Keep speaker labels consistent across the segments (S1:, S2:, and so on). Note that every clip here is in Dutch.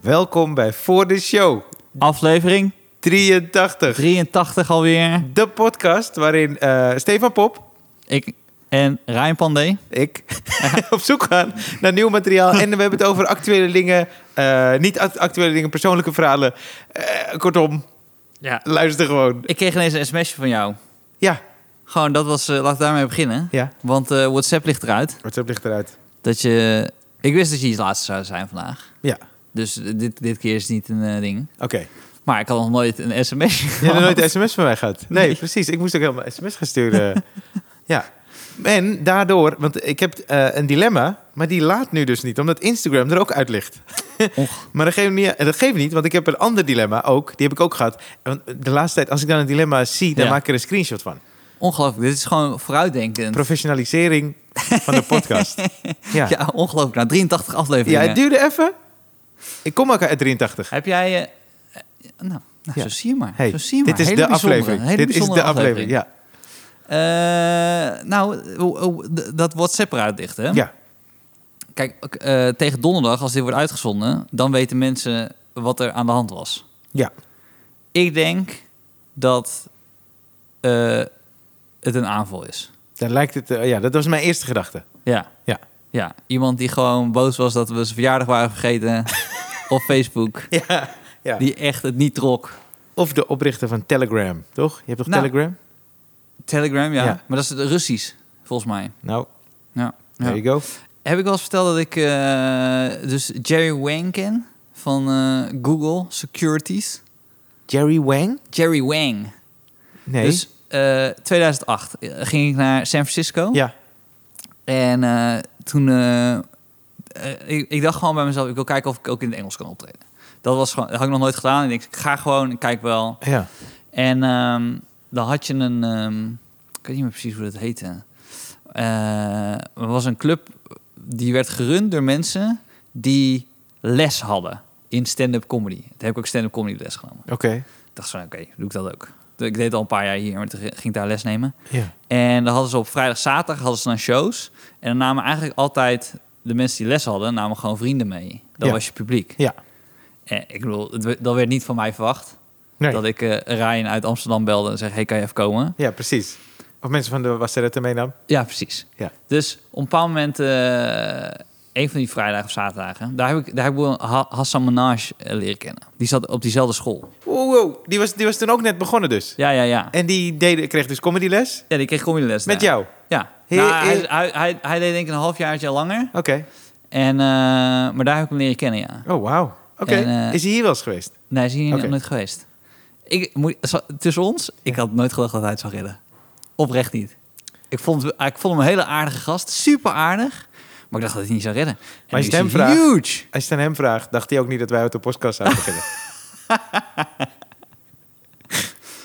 S1: Welkom bij Voor de Show
S2: Aflevering
S1: 83.
S2: 83 alweer.
S1: De podcast waarin eh, Stefan Pop,
S2: Ik en Ryan Pandey.
S1: ik, op zoek gaan naar nieuw materiaal. En we hebben het over actuele dingen, eh, niet act- actuele dingen, persoonlijke verhalen. Eh, kortom,
S2: Ja.
S1: luister gewoon.
S2: Ik kreeg ineens een sms'je van jou.
S1: Ja,
S2: Gewoon, dat was, eh, laat ik daarmee beginnen.
S1: ja.
S2: Want eh, WhatsApp ligt eruit.
S1: WhatsApp ligt eruit.
S2: Dat je, ik wist dat je iets laatste zou zijn vandaag.
S1: Ja,
S2: Dus dit, dit keer is het niet een eh, ding.
S1: oké.
S2: Maar ik had nog nooit een sms'je
S1: Je hebt
S2: gehad.
S1: er nooit een sms van mij gehad. Nee,
S2: Nee.
S1: precies. Ik moest ook helemaal sms gaan sturen. ja. En daardoor, want ik heb eh, een dilemma, maar die laat nu dus niet, omdat Instagram er ook uit ligt.
S2: Och.
S1: Maar dat geeft, niet, dat geeft niet, want ik heb een ander dilemma ook. Die heb ik ook gehad. Want de laatste tijd, als ik dan een dilemma zie, dan
S2: Ja.
S1: maak ik er een screenshot van.
S2: Ongelooflijk, dit is gewoon vooruitdenken.
S1: Professionalisering van de podcast. ja. Ja,
S2: Ja, ongelooflijk. Na 83 afleveringen.
S1: het duurde even. Ik kom ook uit 83.
S2: Heb jij... eh, eh, nou, nou
S1: Ja.
S2: zo zie je maar.
S1: Hey,
S2: zo zie je maar.
S1: dit is
S2: Hele
S1: de
S2: bijzondere,
S1: aflevering.
S2: hele
S1: Dit is de
S2: bijzondere
S1: aflevering, ja.
S2: Eh, nou, hoe- hoe- d- dat WhatsApp eruit ligt, hè?
S1: ja.
S2: Kijk, ook, eh, tegen donderdag, als dit wordt uitgezonden, dan weten mensen wat er aan de hand was.
S1: Ja.
S2: Ik denk dat eh, het een aanval is.
S1: Dan lijkt het, eh, ja, dat was mijn eerste gedachte.
S2: Ja.
S1: Ja.
S2: Ja, iemand die gewoon boos was dat we zijn verjaardag waren vergeten. of Facebook.
S1: Ja. ja.
S2: Die echt het niet trok.
S1: Of de oprichter van Telegram, toch? Je hebt toch
S2: Nou.
S1: Telegram?
S2: Telegram, ja.
S1: Ja.
S2: Maar dat is het Russisch, volgens mij.
S1: Nou,
S2: Ja. ja.
S1: there you go.
S2: Heb ik wel eens verteld dat ik eh, dus Jerry Wang ken van eh, Google Securities?
S1: Jerry Wang?
S2: Jerry Wang.
S1: Nee.
S2: Dus eh, 2008 ging ik naar San Francisco.
S1: ja.
S2: En eh, toen... eh, eh, ik, ik dacht gewoon bij mezelf, ik wil kijken of ik ook in het Engels kan optreden. Dat, was gewoon, dat had ik nog nooit gedaan. Ik denk, ik ga gewoon, ik kijk wel.
S1: ja.
S2: En ehm, dan had je een... ehm, ik weet niet meer precies hoe dat heette. Eh, er was een club die werd gerund door mensen die les hadden in stand-up comedy. Daar heb ik ook stand-up comedy les genomen.
S1: Oké.
S2: Ik dacht zo, oké, doe ik dat ook. Ik deed het al een paar jaar hier, maar toen ging ik daar les nemen.
S1: Ja.
S2: En dan hadden ze op vrijdag, zaterdag hadden ze dan shows. En dan namen eigenlijk altijd de mensen die les hadden, namen gewoon vrienden mee. Dat
S1: Ja.
S2: was je publiek.
S1: Ja.
S2: En ik bedoel, het we- dat werd niet van mij verwacht.
S1: Nee.
S2: Dat ik eh Ryan uit Amsterdam belde en zei, hey, kan je even komen?
S1: Ja, precies. Of mensen van de wasseretten meenam.
S2: Ja, precies.
S1: Ja.
S2: Dus op een bepaald moment, eh een van die vrijdagen of zaterdagen, daar heb ik, daar heb ik wel Ha- Hassan Minaj eh, leren kennen. Die zat op diezelfde school.
S1: Wow, wow. Die was, die was toen ook net begonnen dus.
S2: Ja, ja, ja.
S1: En die deed, kreeg dus comedyles
S2: Ja, die kreeg les
S1: met jou.
S2: Ja.
S1: He-
S2: Nou, hij,
S1: he-
S2: hij, hij, hij deed denk ik een halfjaartje langer.
S1: Oké.
S2: En, eh, maar daar heb ik hem leren kennen, ja.
S1: Oh, wauw. Oké.
S2: En, eh,
S1: Is hij hier wel eens geweest?
S2: Nee, is hij hier
S1: Oké.
S2: nooit geweest. Ik, moet, zo- tussen ons, ik had nooit gedacht dat hij het zou redden. Oprecht niet. Ik vond, ik vond hem een hele aardige gast. Super aardig. Maar ik dacht dat hij het niet zou redden. En
S1: Maar
S2: nu
S1: je
S2: is hij
S1: stemvraag-
S2: huge.
S1: Als je het aan hem vraagt, dacht hij ook niet dat wij uit de podcast zouden beginnen.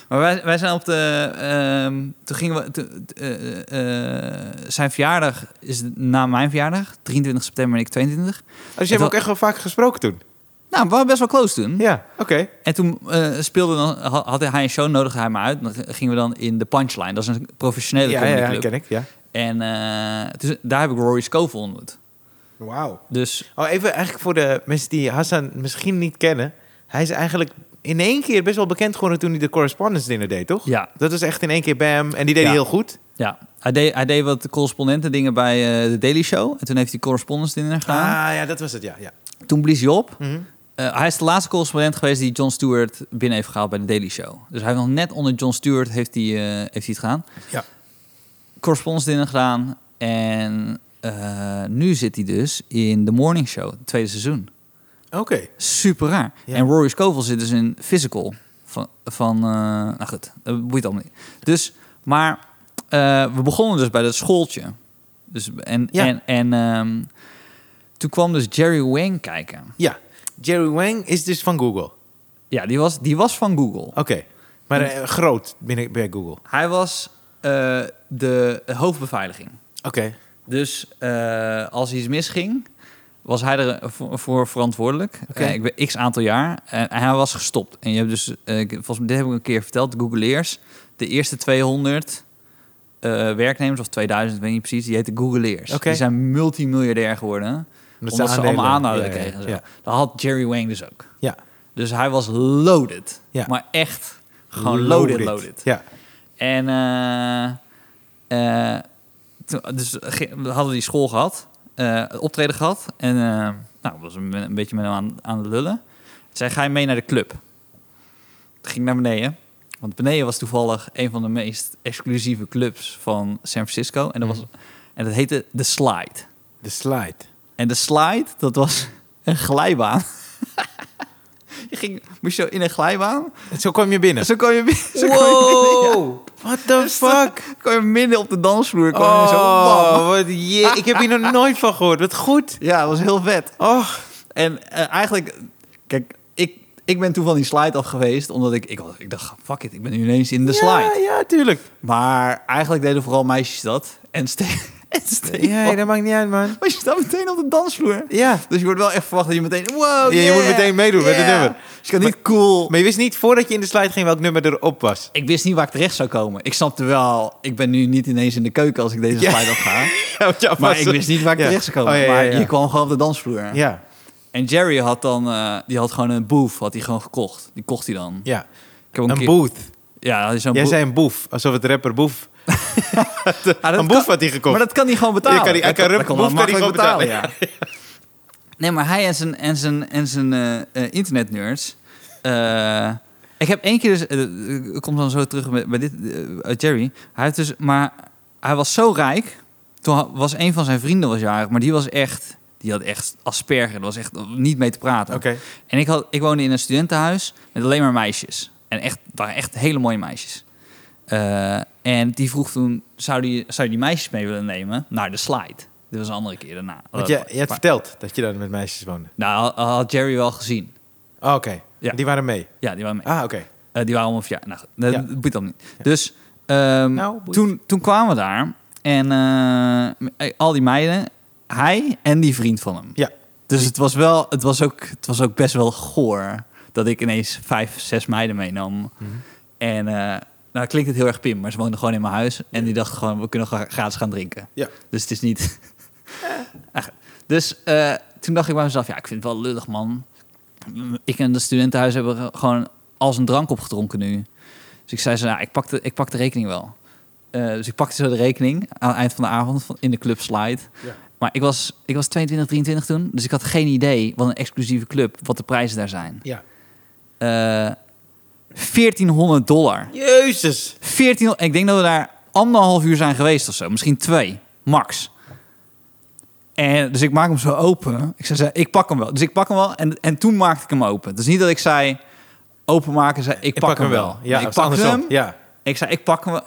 S2: Maar wij, wij zijn op de... ehm, toen gingen we... toen- eh, eh, zijn verjaardag is na mijn verjaardag. 23 september en ik 22.
S1: Als je hem
S2: wa-
S1: ook echt wel vaak gesproken toen.
S2: Nou, we waren best wel close toen.
S1: Ja, oké.
S2: En toen eh, speelde dan, ha- had hij een show, nodigde hij me uit. Dan g- gingen we dan in de Punchline. Dat is een professionele
S1: Ja, ja,
S2: comedyclub.
S1: ja, ken ik. Ja.
S2: En eh, dus daar heb ik Rory Scovel ontmoet.
S1: Wauw.
S2: Dus
S1: Oh, even eigenlijk voor de mensen die Hassan misschien niet kennen. Hij is eigenlijk in één keer best wel bekend geworden toen hij de Correspondence Dinner deed, toch?
S2: ja,
S1: Dat was echt in één keer bam. En die deed
S2: Ja.
S1: hij heel goed.
S2: ja. Hij, deed, hij deed wat correspondenten dingen bij eh, de Daily Show. En toen heeft hij correspondence dinner gedaan.
S1: Ah, ja, dat was het, ja. ja.
S2: Toen blies hij op.
S1: Mhm.
S2: Eh, hij is de laatste correspondent geweest die Jon Stewart binnen heeft gehaald bij de Daily Show. Dus hij heeft nog net onder Jon Stewart heeft hij, eh, heeft hij het gedaan.
S1: Ja.
S2: Correspondence dinner gedaan. En eh, nu zit hij dus in The Morning Show, het tweede seizoen.
S1: Oké.
S2: Super raar.
S1: Ja.
S2: En Rory Scovel zit dus in physical. Van, van eh, nou goed, dat boeit allemaal niet. Dus, maar eh, we begonnen dus bij dat schooltje. Dus, en
S1: Ja.
S2: en, en ehm, toen kwam dus Jerry Wang kijken.
S1: Ja, Jerry Wang is dus van Google. Oké.
S2: Ja, die was, die was van Google.
S1: Oh. Maar
S2: Mm.
S1: eh, groot binnen bij Google.
S2: Hij was eh, de hoofdbeveiliging.
S1: Oké.
S2: Dus eh, als iets misging, was hij er voor, voor verantwoordelijk.
S1: Oké.
S2: Eh, ik ben x aantal jaar. eh, en hij was gestopt. En je hebt dus, eh, ik- volgens mij, dit heb ik een keer verteld, Googleers. De eerste 200 eh, werknemers, of 2000, ik weet niet precies, die heten Googleers.
S1: Oké.
S2: Die zijn multimiljardair geworden.
S1: Omdat
S2: Omdat,
S1: ze
S2: ze allemaal
S1: aandelen-
S2: aanhouden
S1: ja, ja,
S2: kregen. en zo.
S1: ja.
S2: Dat had Jerry Wang dus ook.
S1: Ja.
S2: Dus hij was loaded.
S1: Ja.
S2: Maar echt gewoon loaded, loaded.
S1: Ja,
S2: En eh, eh, toen, dus ge- we hadden die school gehad, eh, optreden gehad. En eh, nou, was een, een beetje met hem aan, aan het lullen. Toen zei, ga je mee naar de club? Toen ging ik naar beneden. Want beneden was toevallig een van de meest exclusieve clubs van San Francisco. En dat, was, en dat heette The Slide.
S1: de slide.
S2: En de slide, dat was een glijbaan. je ging, moest je in een glijbaan.
S1: En zo kwam je binnen.
S2: Zo kon je, bi- zo kon je binnen-
S1: Wow, what the fuck?
S2: ja, kon je midden op de dansvloer. Kon je zo, bam.
S1: Oh, wat je, ik heb hier nog nooit van gehoord. Wat goed.
S2: Ja, dat was heel vet.
S1: Oh,
S2: En eh, eigenlijk, kijk, ik, ik ben toen van die slide af geweest. Omdat ik, ik, had- ik dacht, fuck it, ik ben nu ineens in de
S1: Ja,
S2: slide.
S1: ja, tuurlijk.
S2: Maar eigenlijk deden vooral meisjes dat. En Steve, en Stefan
S1: Ja, dat maakt niet uit, man.
S2: was je staat meteen op de dansvloer.
S1: Ja.
S2: Dus je wordt wel echt verwacht dat je meteen, wow,
S1: Ja, je moet meteen meedoen met het nummer.
S2: Dus je kan niet cool.
S1: Maar je wist niet voordat je in de slide ging welk nummer erop was.
S2: Ik wist niet waar ik terecht zou komen. Ik snapte wel, ik ben nu niet ineens in de keuken als ik deze
S1: Ja.
S2: slide op ga.
S1: Ja, want jou
S2: Maar
S1: was
S2: ik
S1: het.
S2: wist niet waar ik
S1: Ja.
S2: terecht zou komen.
S1: Oh, ja, ja, ja.
S2: Maar je kwam gewoon op de dansvloer.
S1: Ja,
S2: En Jerry had dan, eh, die had gewoon een boef, had hij gewoon gekocht. Die kocht hij dan.
S1: ja.
S2: Ik heb
S1: Een,
S2: keer-
S1: booth.
S2: Ja, hij is zo'n
S1: Jij
S2: boef.
S1: zei een boef, alsof het rapper boef.
S2: Ah, dat
S1: een boef
S2: kan-
S1: had hij gekocht.
S2: Maar dat kan hij gewoon betalen.
S1: Ja, kan hij- hij kan rup- boef kan hij
S2: makkelijk
S1: gewoon
S2: ja. Nee, maar hij en zijn, en zijn, en zijn eh, eh, internetnerds. eh, ik heb één keer... Dus, eh, ik kom dan zo terug bij, bij dit, eh, uit Jerry. Hij heeft dus... Maar hij was zo rijk. Toen ha- was een van zijn vrienden was jarig. Maar die was echt... Die had echt asperger. Dat was echt niet mee te praten.
S1: Oké.
S2: En ik, had, ik woonde in een studentenhuis met alleen maar meisjes. En echt, het waren echt hele mooie meisjes. Eh, en die vroeg toen, zou, die, zou je die meisjes mee willen nemen naar de slide? Dit was een andere keer daarna.
S1: Want je, je
S2: Maar-
S1: had verteld dat je dan met meisjes woonde.
S2: Nou, had- had Jerry wel gezien.
S1: Oh, oké.
S2: Ja.
S1: Die waren mee.
S2: Ja, die waren mee.
S1: Ah, oké.
S2: Eh, die waren om een verjaardag. Nou, goed, dat
S1: Ja.
S2: dat boeit dan niet. Dus ehm,
S1: Nou, boeit.
S2: toen, toen kwamen we daar. En eh, al die meiden, hij en die vriend van hem.
S1: Ja.
S2: Dus het was, wel, het, was ook, het was ook best wel goor dat ik ineens vijf, zes meiden meenam.
S1: Mhm.
S2: En eh nou klinkt het heel erg pim, maar ze woonden gewoon in mijn huis. En die dachten gewoon, we kunnen gewoon gratis gaan drinken.
S1: Ja.
S2: Dus het is niet... Echt. dus eh, toen dacht ik bij mezelf, ja, ik vind het wel lullig, man. Ik en dat studentenhuis hebben gewoon als een drank opgedronken nu. Dus ik zei ze, nou, ik pak de, ik pak de rekening wel. Eh, dus ik pakte zo de rekening aan het eind van de avond van, in de club slide.
S1: Ja.
S2: Maar ik was, ik was 22, 23 toen. Dus ik had geen idee wat een exclusieve club, wat de prijzen daar zijn.
S1: ja.
S2: Eh 1400 dollar.
S1: Jezus.
S2: 1400, ik denk dat we daar anderhalf uur zijn geweest of zo. Misschien twee, max. En, dus ik maak hem zo open. Ik zei, ik pak hem wel. Dus ik pak hem wel. En, en toen maakte ik hem open. Dus niet dat ik zei, openmaken. Zei, ik,
S1: Ik pak, hem wel. Ja,
S2: Nee, ik
S1: het is
S2: pak
S1: andersom.
S2: hem.
S1: Ja.
S2: Ik zei, ik pak hem. wel.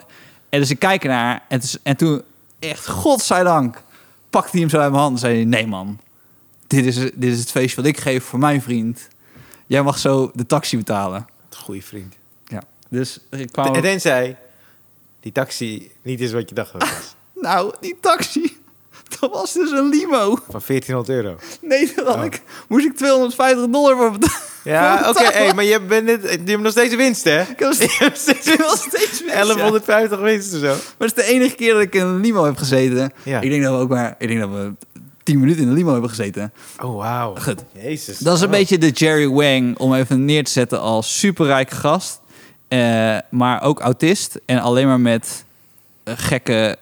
S2: En dus ik kijk ernaar. En, toen- en toen, echt, godzijdank, pakte hij hem zo uit mijn hand. En zei hij, nee man, dit is, dit is het feestje wat ik geef voor mijn vriend. Jij mag zo de taxi betalen.
S1: Goeie vriend.
S2: Ja. Dus ik kwam...
S1: En dan zei die taxi niet is wat je dacht dat het was.
S2: Nou, die taxi, dat was dus een limo.
S1: Van 1400 euro.
S2: Nee, dat had
S1: Oh.
S2: ik, moest ik 250 dollar voor betalen.
S1: Ja,
S2: voor
S1: oké.
S2: betalen.
S1: hey, maar je, bent net, je hebt nog steeds winst, hè?
S2: Ik was, ik was steeds mensen.
S1: 1150 winst of zo.
S2: Maar het is de enige keer dat ik in een limo heb gezeten.
S1: Ja.
S2: Ik denk dat we ook maar, ik denk dat we 10 minuten in de limo hebben gezeten.
S1: Oh, wauw.
S2: Goed.
S1: Jezus.
S2: Dat is een
S1: Oh.
S2: beetje de Jerry Wang om even neer te zetten als superrijke gast. eh, maar ook autist en alleen maar met eh, gekke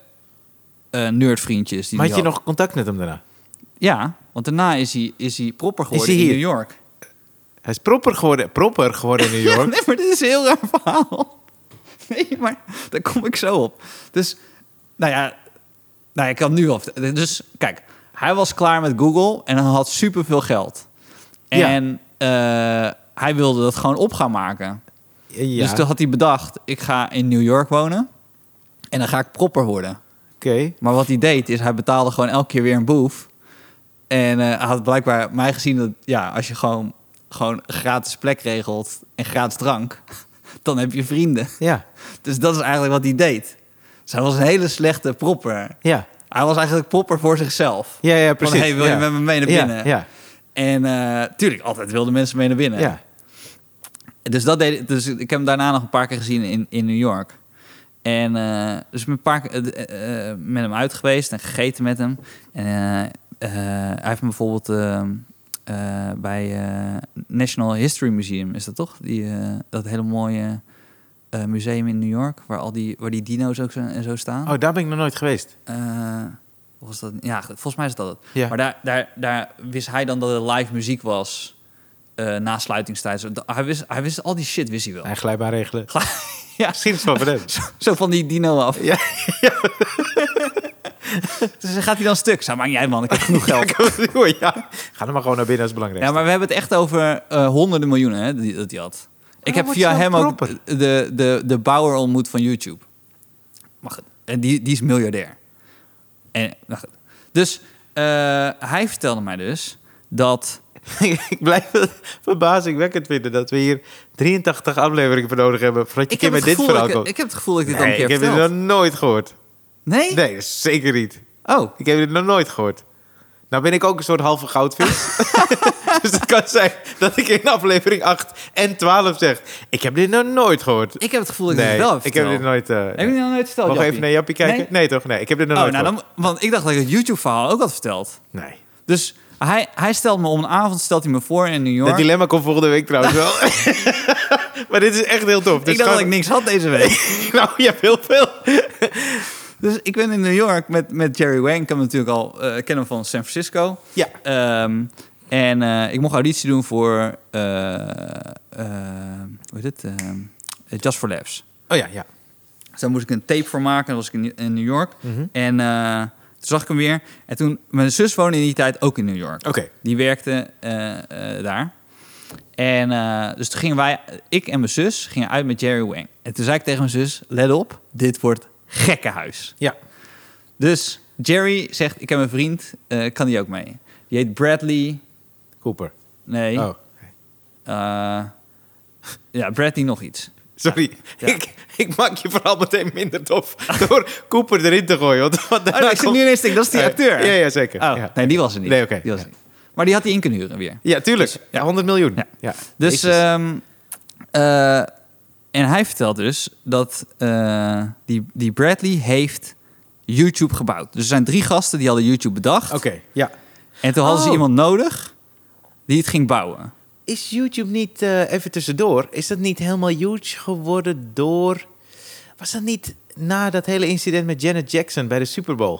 S2: eh, nerdvriendjes. Die
S1: Maar
S2: hij
S1: had je
S2: had.
S1: nog contact met hem daarna?
S2: Ja, want daarna is hij, is hij propper geworden
S1: hij
S2: in
S1: hier?
S2: New York.
S1: Hij is proper geworden, proper geworden in New York.
S2: Nee, maar dit is een heel raar verhaal. Nee, maar daar kom ik zo op. Dus, nou ja, nou ja, ik kan het nu al vertellen. Dus, kijk, hij was klaar met Google en hij had superveel geld.
S1: Ja.
S2: En eh, hij wilde dat gewoon op gaan maken.
S1: Ja,
S2: Dus toen
S1: oké.
S2: had hij bedacht, ik ga in New York wonen en dan ga ik propper worden. Maar wat hij deed, is hij betaalde gewoon elke keer weer een boef. En eh, hij had blijkbaar mij gezien dat, ja, als je gewoon, gewoon een gratis plek regelt en gratis drank, dan heb je vrienden.
S1: Ja,
S2: Dus dat is eigenlijk wat hij deed. Dus hij was een hele slechte propper.
S1: ja.
S2: Hij was eigenlijk propper voor zichzelf.
S1: Ja, ja, precies.
S2: hey, wil je
S1: Ja.
S2: met me mee naar
S1: Ja,
S2: binnen?
S1: Ja,
S2: En eh, tuurlijk, altijd wilden mensen mee naar binnen.
S1: ja.
S2: Dus, dat deed, dus ik heb hem daarna nog een paar keer gezien in, in New York. En eh, dus ik ben een paar keer eh, eh, eh, met hem uit geweest en gegeten met hem. En eh, eh, hij heeft me bijvoorbeeld eh, eh, bij eh, National History Museum, is dat toch? Die, eh, dat hele mooie eh, museum in New York, waar al die, waar die dino's ook zo, en zo staan.
S1: Oh, daar ben ik nog nooit geweest.
S2: Eh, volgens, dat, ja, volgens mij is dat het.
S1: Ja.
S2: Maar daar, daar, daar wist hij dan dat er live muziek was eh, na sluitingstijd. Zo, da- Hij wist, hij wist al die shit, wist hij wel.
S1: En glijbaar regelen.
S2: Ja.
S1: Misschien is het wel van hem.
S2: Zo van die dino af.
S1: Ja.
S2: dus dan gaat hij dan stuk. Zo, maakt niet uit man, ik heb genoeg geld.
S1: ja. Ga dan maar gewoon naar binnen, als belangrijk.
S2: Ja, maar we hebben het echt over eh, honderden miljoenen hè, die, dat hij had. Ik
S1: dan
S2: heb
S1: wordt
S2: via
S1: ze
S2: hem
S1: wel
S2: ook
S1: proper.
S2: de, de, de bouwer ontmoet van YouTube. Maar goed, en die, die is miljardair. En, maar goed. Dus eh, hij vertelde mij dus dat...
S1: ik blijf het verbazingwekkend vinden dat we hier 83 afleveringen voor nodig hebben. Voordat je een keer
S2: heb
S1: met
S2: het
S1: dit
S2: gevoel
S1: verhaal
S2: dat ik,
S1: komt.
S2: ik heb het gevoel dat ik dit al
S1: Nee,
S2: een keer
S1: ik heb dit
S2: verteld.
S1: nog nooit gehoord.
S2: Nee?
S1: Nee, zeker niet.
S2: Oh,
S1: Ik heb dit nog nooit gehoord. Nou ben ik ook een soort halve goudvis. dus het kan zijn dat ik in aflevering 8 en 12 zeg... Ik heb dit nog nooit gehoord.
S2: ik heb het gevoel dat ik
S1: nee,
S2: dit wel heb
S1: ik heb dit
S2: verteld.
S1: nooit... eh,
S2: Heb je dit nog nooit verteld,
S1: Mag ik even
S2: Jappie?
S1: naar Jappie kijken? Nee?
S2: Nee?
S1: toch? Nee, ik heb dit nog
S2: Oh,
S1: nooit
S2: nou
S1: gehoord.
S2: dan, want ik dacht dat ik het YouTube-verhaal ook had verteld.
S1: Nee.
S2: Dus hij, hij stelt me om een avond stelt hij me voor in New
S1: Dat
S2: York.
S1: dilemma komt volgende week trouwens wel. maar dit is echt heel tof. Dus
S2: ik dacht dat
S1: gewoon-
S2: ik niks had deze week.
S1: Nou, je hebt heel veel.
S2: Dus ik ben in New York met, met Jerry Wang. Ik hem natuurlijk al eh, kennen hem van San Francisco.
S1: Ja.
S2: Ehm, en eh, ik mocht auditie doen voor... eh, eh, hoe heet het? Ehm, Just for Labs.
S1: Oh ja, ja.
S2: Dus daar moest ik een tape voor maken. Dat was ik in, in New York.
S1: Mhm.
S2: En eh, toen zag ik hem weer. En toen... Mijn zus woonde in die tijd ook in New York.
S1: Oké.
S2: Die werkte eh, eh, daar. En eh, dus toen gingen wij... Ik en mijn zus gingen uit met Jerry Wang. En toen zei ik tegen mijn zus... Let op, dit wordt gekkenhuis.
S1: Ja.
S2: Dus Jerry zegt, ik heb een vriend, eh, kan die ook mee? Die heet Bradley,
S1: Cooper.
S2: nee,
S1: Oh.
S2: eh, ja, Bradley nog iets.
S1: Sorry.
S2: Ja.
S1: Ik, ik maak je vooral meteen minder tof door Cooper erin te gooien. Want, want
S2: Oh,
S1: daarna
S2: nee, ik zit
S1: komt-
S2: nu ineens te denken, dat is die
S1: Eh,
S2: acteur.
S1: Ja, ja zeker.
S2: Oh,
S1: ja.
S2: nee, die was er niet.
S1: Nee, oké,
S2: Die was
S1: ja.
S2: er niet. Maar die had hij in kunnen huren weer.
S1: ja, tuurlijk.
S2: ja.
S1: 100 miljoen.
S2: Ja.
S1: Ja.
S2: Dus,
S1: Jezus.
S2: ehm, eh, en hij vertelt dus dat eh, die, die Bradley heeft YouTube gebouwd. Dus er zijn drie gasten die hadden YouTube bedacht.
S1: Oké, ja.
S2: En toen hadden ze
S1: Oh.
S2: iemand nodig die het ging bouwen.
S1: Is YouTube niet, eh, even tussendoor, is dat niet helemaal huge geworden door... Was dat niet na dat hele incident met Janet Jackson bij de Super Bowl?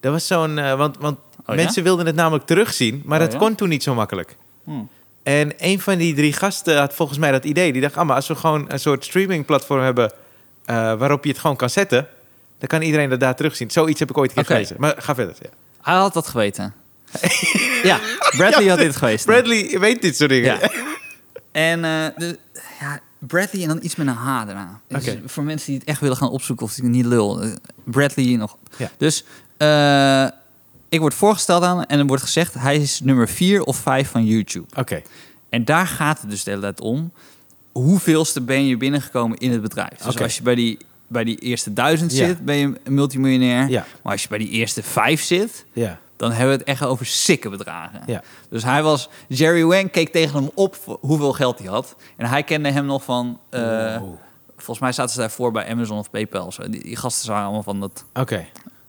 S1: Dat was zo'n... eh, want want
S2: ja?
S1: mensen wilden het namelijk terugzien, maar
S2: Oh,
S1: dat
S2: ja?
S1: kon toen niet zo makkelijk.
S2: Hmm.
S1: En een van die drie gasten had volgens mij dat idee. Die dacht, ah, maar als we gewoon een soort streamingplatform hebben... eh, waarop je het gewoon kan zetten... dan kan iedereen dat daar terugzien. Zoiets heb ik ooit een keer
S2: Oké.
S1: gelezen. Maar ga verder. Ja.
S2: Hij had dat geweten. ja, Bradley
S1: Ja,
S2: had dit geweest.
S1: Bradley weet dit soort dingen.
S2: Ja. En eh, de- ja, Bradley en dan iets met een H eraan. Dus
S1: Oké.
S2: voor mensen die het echt willen gaan opzoeken of die het niet lul. eh, Bradley nog.
S1: Ja.
S2: Dus eh, ik word voorgesteld aan en er wordt gezegd... hij is nummer 4 of 5 van YouTube.
S1: Oké.
S2: En daar gaat het dus de hele tijd om. Hoeveelste ben je binnengekomen in het bedrijf? Dus
S1: Oké.
S2: als je bij die, bij die eerste duizend
S1: Ja.
S2: zit, ben je een multimiljonair.
S1: Ja.
S2: Maar als je bij die eerste vijf zit...
S1: Ja.
S2: Dan hebben we het echt over sikke bedragen.
S1: Ja.
S2: Dus hij was... Jerry Wang keek tegen hem op voor hoeveel geld hij had. En hij kende hem nog van... eh,
S1: Wow.
S2: Volgens mij zaten ze daarvoor bij Amazon of PayPal. of Zo. Die, die gasten waren allemaal van dat
S1: Oké.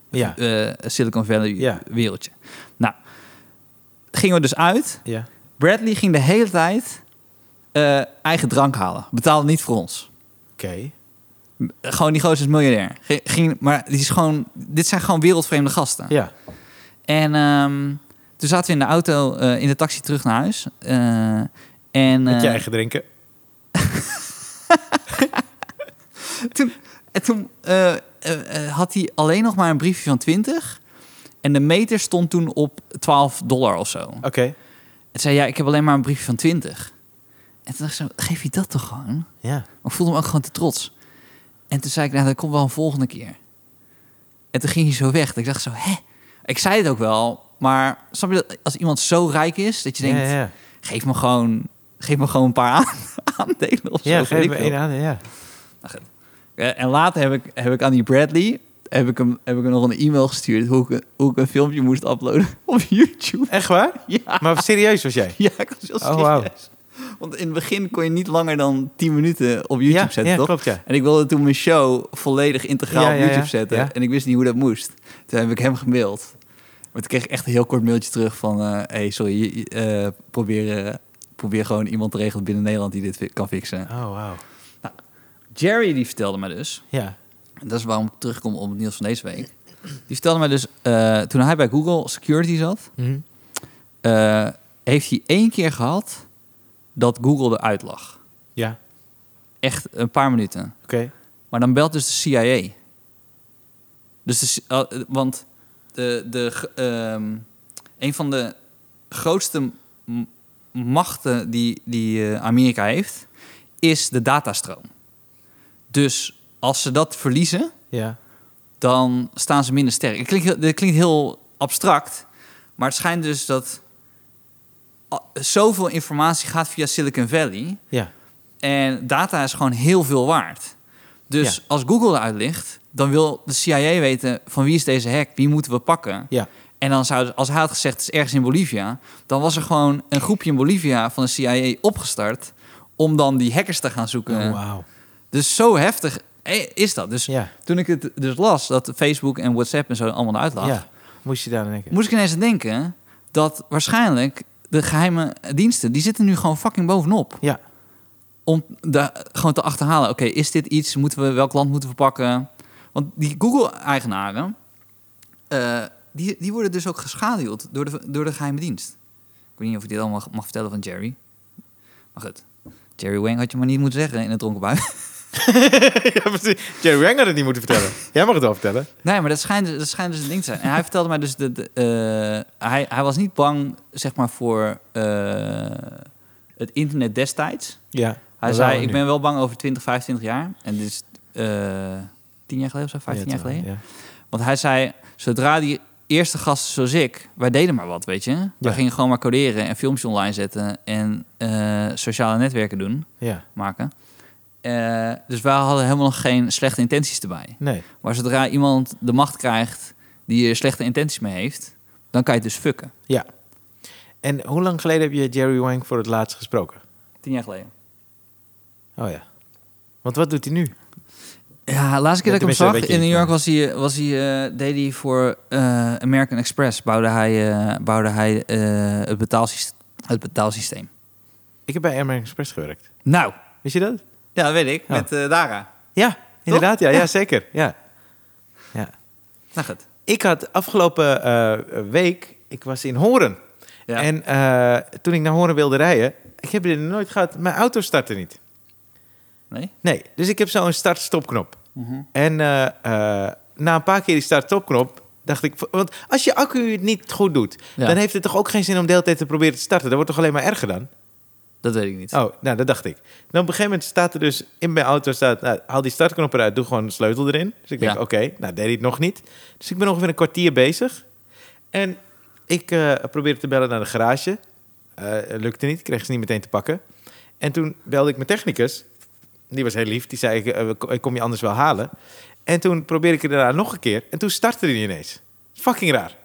S1: Ja.
S2: eh, Silicon Valley
S1: Ja.
S2: wereldje. Nou, gingen we dus uit.
S1: Ja.
S2: Bradley ging de hele tijd eh, eigen drank halen. Betaalde niet voor ons.
S1: Oké.
S2: Gewoon die gozer is miljardair. Ge- Ging, maar die is gewoon, dit zijn gewoon wereldvreemde gasten.
S1: Ja.
S2: En ehm, toen zaten we in de auto, eh, in de taxi terug naar huis. Eh, en
S1: Met je
S2: eh,
S1: eigen drinken.
S2: toen, en toen eh, eh, eh, had hij alleen nog maar een briefje van 20. En de meter stond toen op 12 dollar of zo.
S1: Oké.
S2: En zei, ja, ik heb alleen maar een briefje van 20. En toen dacht ik zo, geef je dat toch gewoon?
S1: Ja.
S2: Maar ik voelde hem ook gewoon te trots. En toen zei ik, nou, dat komt wel een volgende keer. En toen ging hij zo weg. Dat ik dacht zo, hè? Ik zei het ook wel, maar snap je dat als iemand zo rijk is... dat je denkt,
S1: ja, ja.
S2: geef me gewoon, geef me gewoon een paar aan, aandelen of zo.
S1: ja
S2: weet
S1: geef
S2: ik
S1: me
S2: veel.
S1: één aan. Ja.
S2: Nou, goed. Eh, En later heb ik, heb ik aan die Bradley heb ik hem, heb ik hem nog een e-mail gestuurd hoe ik, een- hoe ik een filmpje moest uploaden op YouTube.
S1: Echt waar?
S2: Ja,
S1: Maar serieus was jij?
S2: ja ik was heel
S1: Oh, wauw.
S2: serieus. Want in het begin kon je niet langer dan 10 minuten op YouTube
S1: ja,
S2: zetten,
S1: ja,
S2: toch?
S1: klopt ja.
S2: En ik wilde toen mijn show volledig integraal
S1: Ja,
S2: op
S1: ja, ja.
S2: YouTube zetten.
S1: Ja.
S2: En ik wist niet hoe dat moest. Toen heb ik hem gemaild. Maar toen kreeg ik echt een heel kort mailtje terug van... eh hey, sorry, je- je, eh, probeer, eh, probeer gewoon iemand te regelen binnen Nederland die dit fi- kan fixen.
S1: Oh, wauw.
S2: Jerry die vertelde mij dus...
S1: Ja.
S2: En dat is waarom ik terugkom op het nieuws van deze week. Die vertelde mij dus, eh, toen hij bij Google Security zat,
S1: Mhm.
S2: eh, heeft hij één keer gehad dat Google eruit lag.
S1: Ja,
S2: Echt een paar minuten.
S1: oké.
S2: Maar dan belt dus de CIA. Dus de, C- eh, eh, want de, de, g- ehm, een van de grootste m- machten die, die eh, Amerika heeft, is de datastroom. Dus als ze dat verliezen,
S1: Ja. dan
S2: dan staan ze minder sterk. Het klinkt, heel- dit klinkt heel abstract, maar het schijnt dus dat a- zoveel informatie gaat via Silicon Valley
S1: Ja.
S2: en data is gewoon heel veel waard. Dus
S1: Ja.
S2: als Google eruit ligt, dan wil de CIA weten van wie is deze hack, wie moeten we pakken.
S1: Ja.
S2: En dan zou, als hij had gezegd het is ergens in Bolivia, dan was er gewoon een groepje in Bolivia van de CIA opgestart om dan die hackers te gaan zoeken.
S1: Oh, wauw.
S2: Dus zo heftig eh, is dat. Dus
S1: Ja.
S2: toen ik het dus las dat Facebook en WhatsApp en zo allemaal eruit lag,
S1: ja. Moest je daar aan denken.
S2: moest ik ineens aan denken dat waarschijnlijk de geheime diensten, die zitten nu gewoon fucking bovenop.
S1: Ja.
S2: Om de, gewoon te achterhalen, oké, is dit iets, moeten we, welk land moeten we pakken? Want die Google-eigenaren, eh, die, die worden dus ook geschaduwd door de, door de geheime dienst. Ik weet niet of ik dit allemaal mag, mag vertellen van Jerry. Maar goed, Jerry Wang had je maar niet moeten zeggen in het dronken bui.
S1: ja, precies. Jerry Wang had het niet moeten vertellen. Jij mag het wel vertellen.
S2: Nee, maar dat schijnt, dus- dat schijnt dus een ding te zijn. En hij vertelde mij dus... De, de, eh, hij, hij was niet bang, zeg maar, voor eh, het internet destijds.
S1: Ja.
S2: Hij zei, ik ben wel bang over 20, 25 jaar. En dit is eh, 10 jaar geleden of zo, 15 jaar
S1: eh,
S2: geleden. Want hij zei, zodra die eerste gasten zoals ik... Wij deden maar wat, weet je.
S1: Ja.
S2: We gingen gewoon maar coderen en filmpjes online zetten... en eh, sociale netwerken doen,
S1: Ja.
S2: maken. Eh, dus wij hadden helemaal nog geen slechte intenties erbij.
S1: Nee.
S2: Maar zodra iemand de macht krijgt die er slechte intenties mee heeft, dan kan je het dus fucken.
S1: Ja. En hoe lang geleden heb je Jerry Wang voor het laatst gesproken?
S2: Tien jaar geleden.
S1: Oh ja. Want wat doet hij nu?
S2: Ja, laatste keer
S1: Ja,
S2: dat ik hem
S1: tenminste,
S2: zag,
S1: weet je
S2: in New
S1: niet,
S2: York
S1: maar-
S2: was hij, was hij, eh, deed hij voor eh, American Express, bouwde hij, eh, bouwde hij eh, het, betaalsysteem, het betaalsysteem.
S1: Ik heb bij American Express gewerkt.
S2: Nou,
S1: Wist je dat?
S2: ja, dat weet ik,
S1: Ja.
S2: met eh, Dara.
S1: Ja, inderdaad. Ja, ja, zeker. Ja. ja.
S2: Nou goed.
S1: Ik had afgelopen eh, week, ik was in Horen.
S2: Ja.
S1: En eh, toen ik naar Horen wilde rijden, ik heb dit nog nooit gehad, mijn auto startte niet.
S2: Nee?
S1: Nee, dus ik heb zo'n start-stopknop.
S2: Mhm.
S1: En eh, eh, na een paar keer die start-stopknop dacht ik... Want als je accu het niet goed doet...
S2: Ja.
S1: dan heeft het toch ook geen zin om de hele tijd te proberen te starten? Dat wordt toch alleen maar erger dan?
S2: Dat weet ik niet.
S1: Oh, nou, dat dacht ik. Dan op een gegeven moment staat er dus in mijn auto... Staat, nou, haal die startknop eruit, doe gewoon een sleutel erin. Dus ik denk,
S2: Ja.
S1: oké, nou deed hij het nog niet. Dus ik ben ongeveer een kwartier bezig. En ik eh, probeerde te bellen naar de garage. Eh, lukte niet, ik kreeg ze niet meteen te pakken. En toen belde ik mijn technicus. Die was heel lief. Die zei, ik, eh, ik- ik kom je anders wel halen. En toen probeerde ik er daarna nog een keer. En toen startte hij ineens. Fucking raar.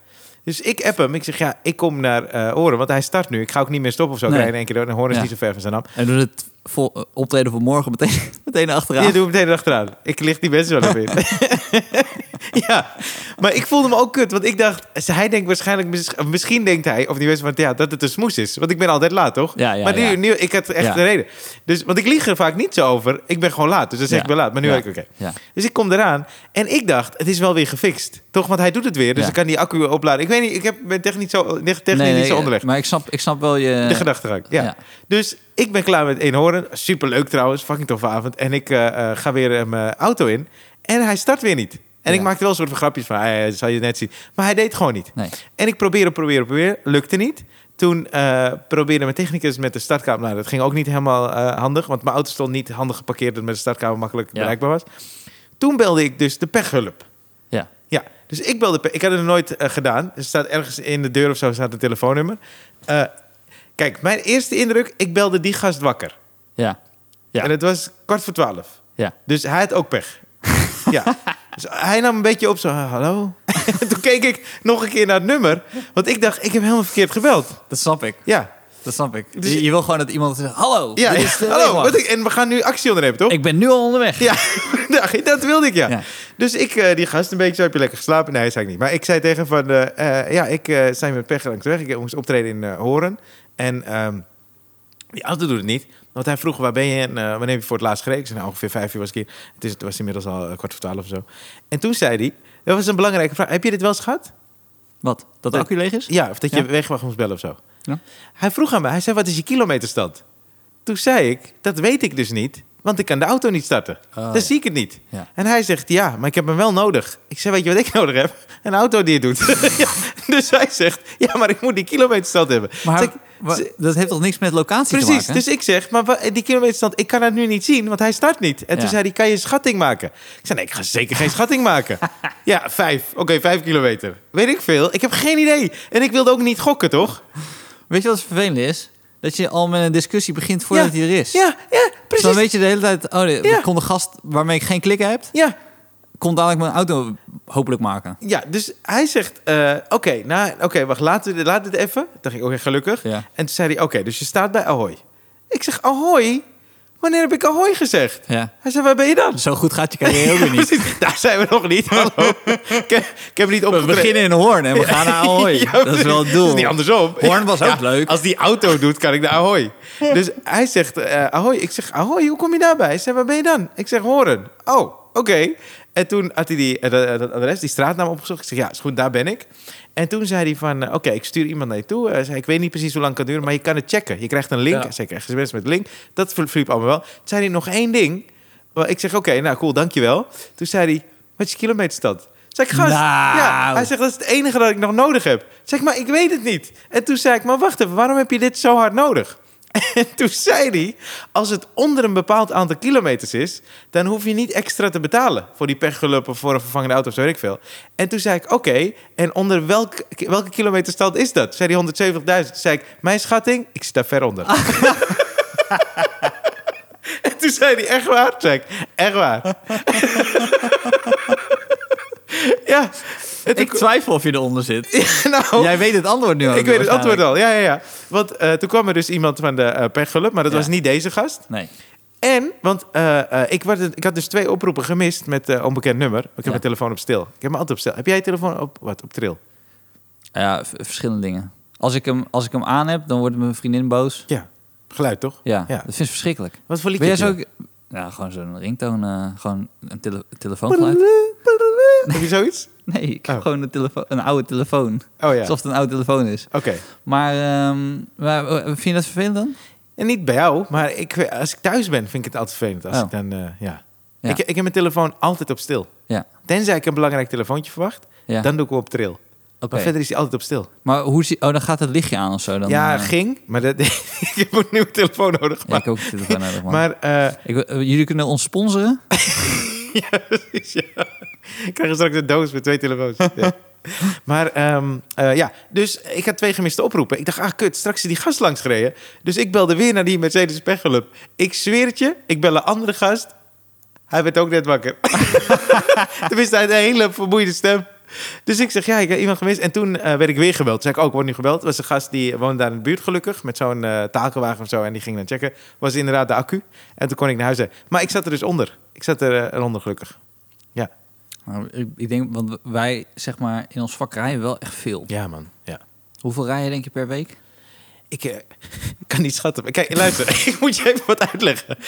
S1: Dus ik app hem. Ik zeg, ja, ik kom naar eh Oren. Want hij start nu. Ik ga ook niet meer stoppen of zo. Ik
S2: Nee.
S1: rij in één keer door. En Horen is
S2: Ja.
S1: niet zo ver van zijn naam.
S2: En door het vol- eh, optreden van morgen meteen, meteen achteraan.
S1: Je doet meteen erachteraan. Ik licht die mensen wel even in. ja, maar ik voelde me ook kut. Want ik dacht, hij denkt waarschijnlijk... mis- of Misschien denkt hij, of die mensen van... Ja, dat het een smoes is. Want ik ben altijd laat, toch?
S2: Ja, ja,
S1: maar nu,
S2: ja.
S1: nu, ik had echt
S2: Ja.
S1: een reden. Dus, want ik lieg er vaak niet zo over. Ik ben gewoon laat, dus dan zeg
S2: Ja.
S1: ik wel laat. Maar nu
S2: Ja.
S1: heb ik, oké.
S2: Ja.
S1: Dus ik kom eraan en ik dacht, het is wel weer gefixt. Toch, want hij doet het weer. Dus
S2: Ja.
S1: ik kan die accu opladen. Ik weet niet, ik heb, ben technisch, zo, technisch
S2: Nee,
S1: niet
S2: nee, eh,
S1: zo onderlegd.
S2: Maar ik snap, ik snap wel je...
S1: De gedachtegang, ja.
S2: Ja.
S1: Dus ik ben klaar met Eenhoorn. Superleuk trouwens, fucking toffe avond. En ik eh, eh, ga weer eh, mijn auto in. En hij start weer niet. En
S2: Ja.
S1: ik maakte wel een soort van grapjes van, hij eh, zal je net zien. Maar hij deed gewoon niet.
S2: Nee.
S1: En ik probeerde, probeerde, probeerde. Lukte niet. Toen eh, probeerde mijn technicus met de startkamer. Nou, dat ging ook niet helemaal eh, handig. Want mijn auto stond niet handig geparkeerd... dat met de startkamer makkelijk
S2: Ja.
S1: bereikbaar was. Toen belde ik dus de pechhulp.
S2: Ja.
S1: Ja, dus ik belde. pe- Ik had het nog nooit eh, gedaan. Er staat ergens in de deur of zo staat een telefoonnummer. Eh, kijk, mijn eerste indruk, ik belde die gast wakker.
S2: Ja. Ja.
S1: En het was kwart voor twaalf.
S2: Ja.
S1: Dus hij had ook pech. ja. Dus hij nam een beetje op zo, "Ah, hallo. Toen keek ik nog een keer naar het nummer. Want ik dacht, ik heb helemaal verkeerd gebeld.
S2: Dat snap ik.
S1: Ja.
S2: dat snap ik.
S1: Dus-
S2: je, je wil gewoon dat iemand zegt, hallo,
S1: Ja,
S2: dit is de
S1: hallo.
S2: wegenwacht.
S1: wat ik- en we gaan nu actie ondernemen, toch?
S2: Ik ben nu al onderweg.
S1: Ja, nou, dat wilde ik, ja.
S2: Ja.
S1: Dus ik, eh, die gast, een beetje zo, heb je lekker geslapen? Nee, zei ik niet. Maar ik zei tegen hem van, eh, eh, ja, ik eh zijn met pech langs de weg. Ik moest optreden in eh, Horen. En ehm die auto doet het niet. Want hij vroeg, waar ben je en eh, wanneer heb je voor het laatst gereden? Ik zei, nou, ongeveer vijf uur was ik hier. Het, is, het was inmiddels al eh, kwart voor twaalf of zo. En toen zei hij, dat was een belangrijke vraag. Heb je dit wel eens gehad?
S2: Wat? Dat de accu leeg is?
S1: Ja, of dat je
S2: Ja.
S1: wegwacht moest bellen of zo.
S2: Ja.
S1: Hij vroeg aan mij, hij zei, wat is je kilometerstand? Toen zei ik, dat weet ik dus niet, want ik kan de auto niet starten.
S2: Ah,
S1: Dan
S2: ja.
S1: zie ik het niet.
S2: Ja.
S1: En hij zegt, ja, maar ik heb hem wel nodig. Ik zei, weet je wat ik nodig heb? Een auto die het doet. Ja, dus hij zegt, ja, maar ik moet die kilometerstand hebben.
S2: Maar,
S1: Zeg ik,
S2: wa-
S1: ze-
S2: dat heeft toch niks met locatie te
S1: Precies,
S2: maken?
S1: dus ik zeg, maar wa- die kilometerstand, ik kan het nu niet zien, want hij start niet. En toen
S2: Ja.
S1: zei hij, kan je een schatting maken? Ik zei, nee, ik ga zeker geen schatting maken. Ja, vijf, oké, vijf kilometer. Weet ik veel, ik heb geen idee. En ik wilde ook niet gokken, toch?
S2: Weet je wat het vervelend is? Dat je al met een discussie begint voordat
S1: Ja.
S2: hij er is.
S1: Ja, ja,
S2: Dus
S1: precies.
S2: dan weet je de hele tijd, oh, de,
S1: Ja.
S2: kon de gast waarmee ik geen klik heb,
S1: Ja,
S2: kon dadelijk mijn auto hopelijk maken.
S1: ja, dus hij zegt, eh, oké, nou, oké, wacht, laten we dit, laat dit even. Toen dacht ik, oké, gelukkig.
S2: Ja.
S1: En toen zei hij, oké, dus je staat bij Ahoy. Ik zeg, Ahoy? Wanneer heb ik Ahoy gezegd?
S2: Ja.
S1: Hij zei, waar ben je dan?
S2: Zo goed gaat je carrière ook weer niet.
S1: Precies, Daar zijn we nog niet, hallo. ik, heb- ik heb niet
S2: We
S1: opgetreden.
S2: beginnen in Hoorn en we gaan naar Ahoy.
S1: Ja,
S2: dat is wel het doel.
S1: is niet andersom.
S2: Hoorn was ook leuk.
S1: Als die auto doet, kan ik naar Ahoy. Dus hij zegt, eh Ahoy. Ik zeg, Ahoy, hoe kom je daarbij? Hij zegt, waar ben je dan? Ik zeg, Horen. Oh, oké. En toen had hij die, eh, dat, eh, dat adres, die straatnaam opgezocht. Ik zeg, ja, is goed, daar ben ik. En toen zei hij van, eh, oké, ik stuur iemand naar je toe. Hij zei, ik weet niet precies hoe lang het kan duren, maar je kan het checken. Je krijgt een link.
S2: Ja.
S1: Zeker, krijgt sms met link. Dat verliep allemaal wel. Toen zei hij nog één ding. Wel, Ik zeg, oké, nou cool, dankjewel. Toen zei hij, wat is je kilometerstand? Zeg ik, gast,
S2: Nou.
S1: ja. Hij zegt, dat is het enige dat ik nog nodig heb. Zeg maar, ik weet het niet. En toen zei ik, maar wacht even, waarom heb je dit zo hard nodig? En toen zei hij, als het onder een bepaald aantal kilometers is... dan hoef je niet extra te betalen voor die pechgeluk of voor een vervangende auto of zo, weet ik veel. En toen zei ik, oké, en onder welk, welke kilometerstand is dat? Zei hij 170.000. Toen zei ik, mijn schatting, ik sta ver onder. En toen zei hij, echt waar, zei ik, echt waar. ja. En toen-
S2: Ik twijfel of je eronder zit.
S1: Ja, nou,
S2: Jij weet het antwoord nu ook.
S1: ik weet het antwoord
S2: waarschijnlijk.
S1: al. Ja, ja, ja. Want eh, toen kwam er dus iemand van de eh pechgeluk, maar dat
S2: Ja.
S1: was niet deze gast.
S2: Nee.
S1: En, want eh, eh, ik, werd, het- ik had dus twee oproepen gemist met eh, onbekend nummer. Ik heb
S2: Ja.
S1: mijn telefoon op stil. Ik heb mijn altijd op stil. Heb jij je telefoon op, wat, op tril?
S2: Ja, v- verschillende dingen. Als ik, hem, als ik hem aan heb, dan wordt mijn vriendin boos.
S1: Ja, geluid toch?
S2: Ja,
S1: Ja.
S2: dat vindt ze verschrikkelijk.
S1: Wat voor
S2: Wil
S1: liedje
S2: jij
S1: heb
S2: zo
S1: je?
S2: ook... Ja, gewoon zo'n ringtoon, eh, gewoon een tele telefoongeluid.
S1: Heb je zoiets?
S2: Nee, ik heb
S1: Oh.
S2: gewoon een, telefo- een oude telefoon.
S1: Oh ja, oké.
S2: Alsof het een oude telefoon is. Maar, ehm, maar, eh, vind je dat vervelend dan?
S1: En niet bij jou, maar ik, als ik thuis ben, vind ik het altijd vervelend. Als
S2: Oh.
S1: ik dan, eh, ja.
S2: Ja.
S1: Ik, ik heb mijn telefoon altijd op stil.
S2: Ja.
S1: Tenzij ik een belangrijk telefoontje verwacht,
S2: Ja.
S1: dan doe ik hem op tril.
S2: Oké.
S1: Maar verder is hij altijd op stil.
S2: Maar hoe zie... Oh, dan gaat het lichtje aan of zo. Dan,
S1: ja,
S2: eh,
S1: ging, maar dat, ik heb een nieuwe telefoon nodig.
S2: ja,
S1: Maar,
S2: ik ook een telefoon nodig, man.
S1: maar eh,
S2: Ik wil- eh, jullie kunnen ons sponsoren.
S1: ja, precies, ja. Ik krijg straks een doos met twee telefoons. Ja. Maar ehm, eh, ja, dus ik had twee gemiste oproepen. Ik dacht, ah kut, straks is die gast langs gereden. Dus ik belde weer naar die Mercedes Pechgelub. Ik zweer het je, ik bel een andere gast. Hij werd ook net wakker. Tenminste, hij had een hele vermoeide stem. Dus ik zeg, ja, ik heb iemand gemist. En toen eh, werd ik weer gebeld. Toen zei ik, ook, ik word nu gebeld. Het was een gast die woonde daar in de buurt gelukkig. Met zo'n eh, takelwagen of zo. En die ging dan checken. Was inderdaad de accu. En toen kon ik naar huis. rijden. Maar ik zat er dus onder. Ik zat er eh, eronder gelukkig. Ja.
S2: Maar Nou, ik, ik denk, want wij zeg maar in ons vak rijden wel echt veel.
S1: Ja, man. Ja.
S2: Hoeveel rijden denk je per week?
S1: Ik eh, kan niet schatten. Kijk, luister, ik moet je even wat uitleggen.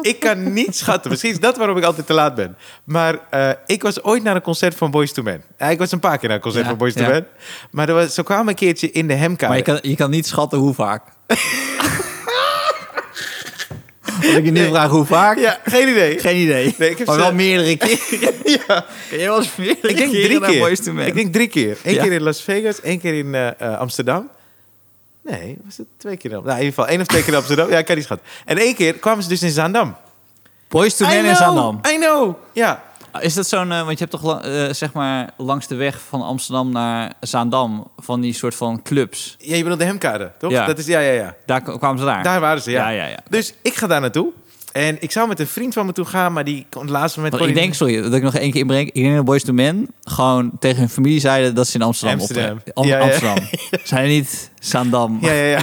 S1: Ik kan niet schatten. Misschien is dat waarom ik altijd te laat ben. Maar eh, ik was ooit naar een concert van Boys to Men. Eh, ik was een paar keer naar een concert
S2: Ja,
S1: van Boys to
S2: ja.
S1: Men. Maar er was, zo kwam een keertje in de
S2: Maar
S1: hemkamer.
S2: je kan, je kan niet schatten hoe vaak. Als ik je nu vraag hoe vaak,
S1: Ja, geen idee.
S2: geen idee.
S1: Nee, ik heb
S2: maar wel
S1: ze-
S2: meerdere keer.
S1: Ja,
S2: Je was meerdere
S1: ik denk
S2: keren
S1: drie
S2: naar
S1: keer.
S2: Boyz II Men.
S1: Ik denk drie keer. Eén
S2: Ja.
S1: keer in Las Vegas, één keer in eh, eh, Amsterdam. Nee, was het twee keer in Amsterdam? Nou, in ieder geval één of twee keer in Amsterdam. Ja, ik kan niet schatten. En één keer kwamen ze dus in Zaandam.
S2: Boys to Men
S1: I
S2: in
S1: know,
S2: Zandam.
S1: I know. Ja,
S2: Is dat zo'n, eh, want je hebt toch la- eh, zeg maar langs de weg van Amsterdam naar Zaandam van die soort van clubs.
S1: Ja, je bedoelt de hemkade, toch?
S2: Ja.
S1: Dat is, ja, ja, ja.
S2: Daar k- kwamen ze daar.
S1: Daar waren ze, ja.
S2: ja, ja. ja.
S1: Dus ik ga daar naartoe. En ik zou met een vriend van me toe gaan, maar die kon het laatste moment...
S2: Want ik
S1: kon hij-
S2: denk, sorry, dat ik nog één keer inbreng. Ik denk dat Boys to Men gewoon tegen hun familie zeiden dat ze in Amsterdam
S1: Amsterdam.
S2: optreden. Am-
S1: Ja, ja.
S2: Amsterdam. Zijn niet Zaandam.
S1: Ja, ja, ja.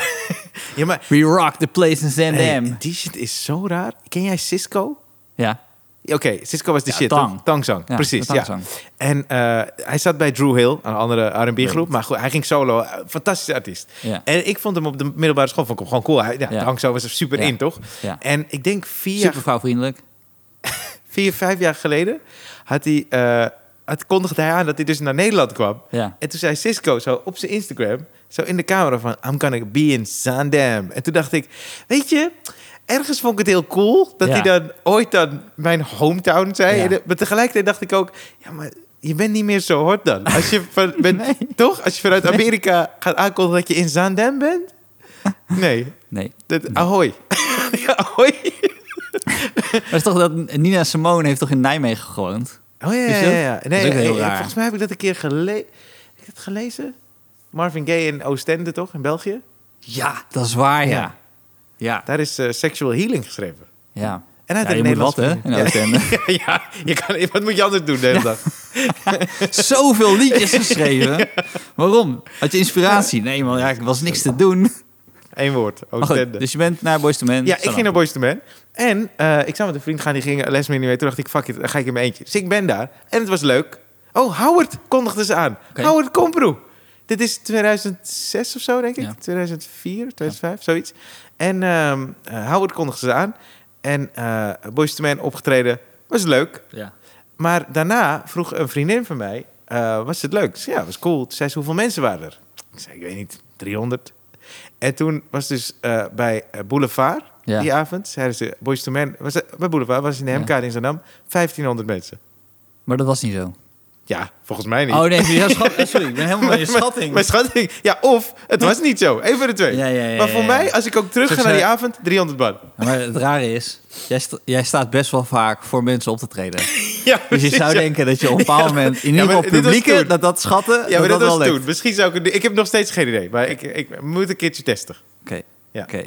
S1: Ja, maar
S2: We rock the place in Zandam.
S1: hey, die shit is zo raar. Ken jij Cisco?
S2: Ja.
S1: Oké, Cisco was de
S2: Ja,
S1: shit,
S2: Tang.
S1: toch? Tangzang,
S2: Ja,
S1: precies.
S2: de
S1: Ja.
S2: Tangzang.
S1: En eh, hij zat bij Drew Hill, een andere R&B-groep. Maar goed, hij ging solo. eh, Fantastische artiest.
S2: Ja.
S1: En ik vond hem op de middelbare school vond ik hem gewoon cool. Hij, ja,
S2: Ja.
S1: Tangzang was er super
S2: Ja.
S1: in, toch?
S2: Ja.
S1: En ik denk vier, jaar-
S2: Super vrouwvriendelijk.
S1: vier, vijf jaar geleden had hij, eh, had, kondigde hij aan dat hij dus naar Nederland kwam.
S2: Ja.
S1: En toen zei Cisco zo op zijn Instagram, zo in de camera van... I'm gonna be in Zaandam. En toen dacht ik, weet je, ergens vond ik het heel cool... dat
S2: Ja.
S1: hij dan ooit dan mijn hometown zei.
S2: Ja.
S1: En, eh, maar tegelijkertijd dacht ik ook, ja, maar je bent niet meer zo hot dan. Als je van, bent, toch? Als je vanuit Amerika gaat aankondigen dat je in Zaandam bent? Nee.
S2: Nee.
S1: Dat, ahoy. Ja, ahoy.
S2: Maar is toch dat Nina Simone heeft toch in Nijmegen gewoond?
S1: Oh ja, ja,
S2: Is dat?
S1: ja, ja.
S2: Dat is
S1: Nee,
S2: ook heel
S1: eh,
S2: raar.
S1: volgens mij heb ik dat een keer gelezen. Heb ik het gelezen? Marvin Gaye in Oostende, toch? In België?
S2: Ja, dat is waar, ja. Ja.
S1: Daar is eh, Sexual Healing geschreven.
S2: Ja.
S1: En hij
S2: Ja, je
S1: had
S2: moet
S1: een
S2: wat, hè? Nou,
S1: Nederlands
S2: In Oostende.
S1: Ja, ja, je kan, wat moet je anders doen de hele dag?
S2: Zoveel liedjes geschreven. Waarom? Had je inspiratie? Nee, man. Ja, ik was niks te doen.
S1: Eén woord,
S2: Maar goed,
S1: Oostende.
S2: dus je bent naar Boys to Men.
S1: Ja, ik ging naar Boys to Man. En eh, ik zou met een vriend gaan, die ging les mee. Toen dacht ik, fuck it, dan ga ik in mijn eentje. Dus ik ben daar. En het was leuk. Oh, Howard kondigde ze aan.
S2: Oké.
S1: Howard Komproe. Dit is 2006 of zo, denk ik.
S2: Ja.
S1: 2004, 2005, zoiets. En ehm, eh, Howard kondigde ze aan. En eh Boys to Man opgetreden. Was leuk.
S2: Ja.
S1: Maar daarna vroeg een vriendin van mij, eh, was het leuk? Ik zei, ja, was cool. Toen zei ze, hoeveel mensen waren er? Ik zei, ik weet niet, 300. En toen was dus eh, bij eh, Boulevard
S2: Ja.
S1: die avond, zeiden ze, Boys to Men, was, het- bij Boulevard was in de
S2: Ja.
S1: Hemkade in Zandam, 1500 mensen.
S2: Maar dat was niet zo.
S1: Ja, volgens mij niet.
S2: Oh nee, je schat- sorry, ik ben helemaal in je schatting.
S1: Mijn schatting. Ja, of het was niet zo. Even de twee.
S2: Ja, ja, ja,
S1: maar voor
S2: ja, ja.
S1: mij, als ik ook terug
S2: Zo
S1: ga naar die
S2: zei-
S1: avond, 300 man.
S2: Maar het rare is, jij, sta- jij staat best wel vaak voor mensen op te treden.
S1: Ja,
S2: Dus je
S1: precies,
S2: zou
S1: ja.
S2: denken dat je op een bepaald moment, in
S1: Ja, maar
S2: ieder geval
S1: dit was
S2: publieken,
S1: toen.
S2: dat dat schatten,
S1: Ja, maar dat,
S2: dat wel
S1: was
S2: lukt.
S1: toen. Misschien zou ik het... Ik heb nog steeds geen idee, maar ik, ik moet een keertje testen.
S2: Oké.
S1: Ja.
S2: Oké.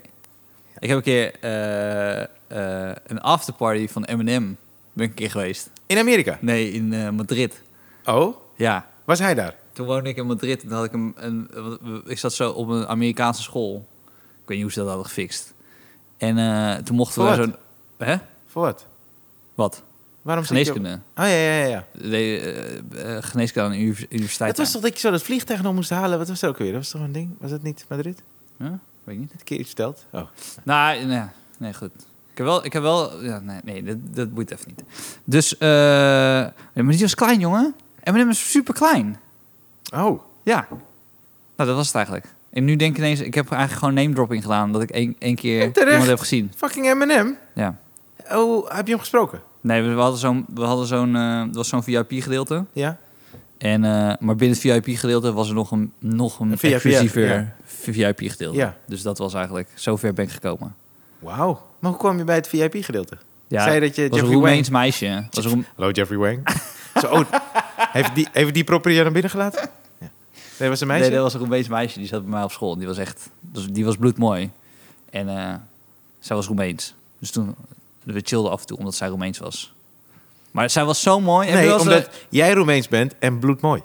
S2: Ik heb een keer eh, eh, een afterparty van Eminem ben ik een keer geweest.
S1: In Amerika?
S2: Nee, in eh, Madrid.
S1: Oh,
S2: Ja.
S1: was hij daar?
S2: Toen woonde ik in Madrid en dan had ik een, een, eh, ik zat zo op een Amerikaanse school. Ik weet niet hoe ze dat hadden gefixt. En eh, toen mochten we
S1: Voor
S2: zo'n... Hè?
S1: Voor wat?
S2: Wat?
S1: Waarom zit je op-
S2: Geneeskunde.
S1: Oh ja, ja, ja. ja.
S2: De, eh, eh, geneeskunde aan de uni- universiteit.
S1: Het was
S2: daar.
S1: toch dat je zo dat vliegtuig nog moest halen? Wat was dat ook weer? Dat was toch een ding? Was dat niet Madrid?
S2: Huh? Weet ik niet.
S1: Een keer iets verteld? Oh.
S2: Nou, nee, nee, goed. Ik heb wel... Ik heb wel ja, nee, nee dat, dat boeit even niet. Dus... eh maar die was klein, jongen. Eminem is super klein.
S1: Oh.
S2: Ja. Nou, dat was het eigenlijk. En nu denk ik ineens... Ik heb eigenlijk gewoon name-dropping gedaan... omdat ik één één keer
S1: En terecht.
S2: iemand heb gezien.
S1: Fucking M&M.
S2: Ja.
S1: Oh, heb je hem gesproken?
S2: Nee, we we hadden zo'n, we hadden zo'n, eh, er was zo'n VIP-gedeelte.
S1: Ja.
S2: En, eh, maar binnen het VIP-gedeelte was er nog een, nog een,
S1: Een VIP,
S2: exclusiever
S1: ja.
S2: VIP-gedeelte.
S1: Ja.
S2: Dus dat was eigenlijk, zover ben ik gekomen.
S1: Wauw. Maar hoe kwam je bij het VIP-gedeelte?
S2: Ja,
S1: Zei je dat je
S2: was een
S1: Jeffrey Wang...
S2: Roemeens meisje. Was een Roem-
S1: Hallo, Jeffrey Wang. zo, oh, heeft die, heeft die proper je naar binnen gelaten? Ja. Nee, was een meisje?
S2: Nee, dat was een Roemeens meisje. Die zat bij mij op school. En die was echt, dus die was bloedmooi. En eh, zij was Roemeens. Dus toen, we chillden af en toe omdat zij Roemeens was. Maar zij was zo mooi. Heb je
S1: Nee,
S2: wel eens- eh,
S1: omdat jij Roemeens bent en bloedmooi.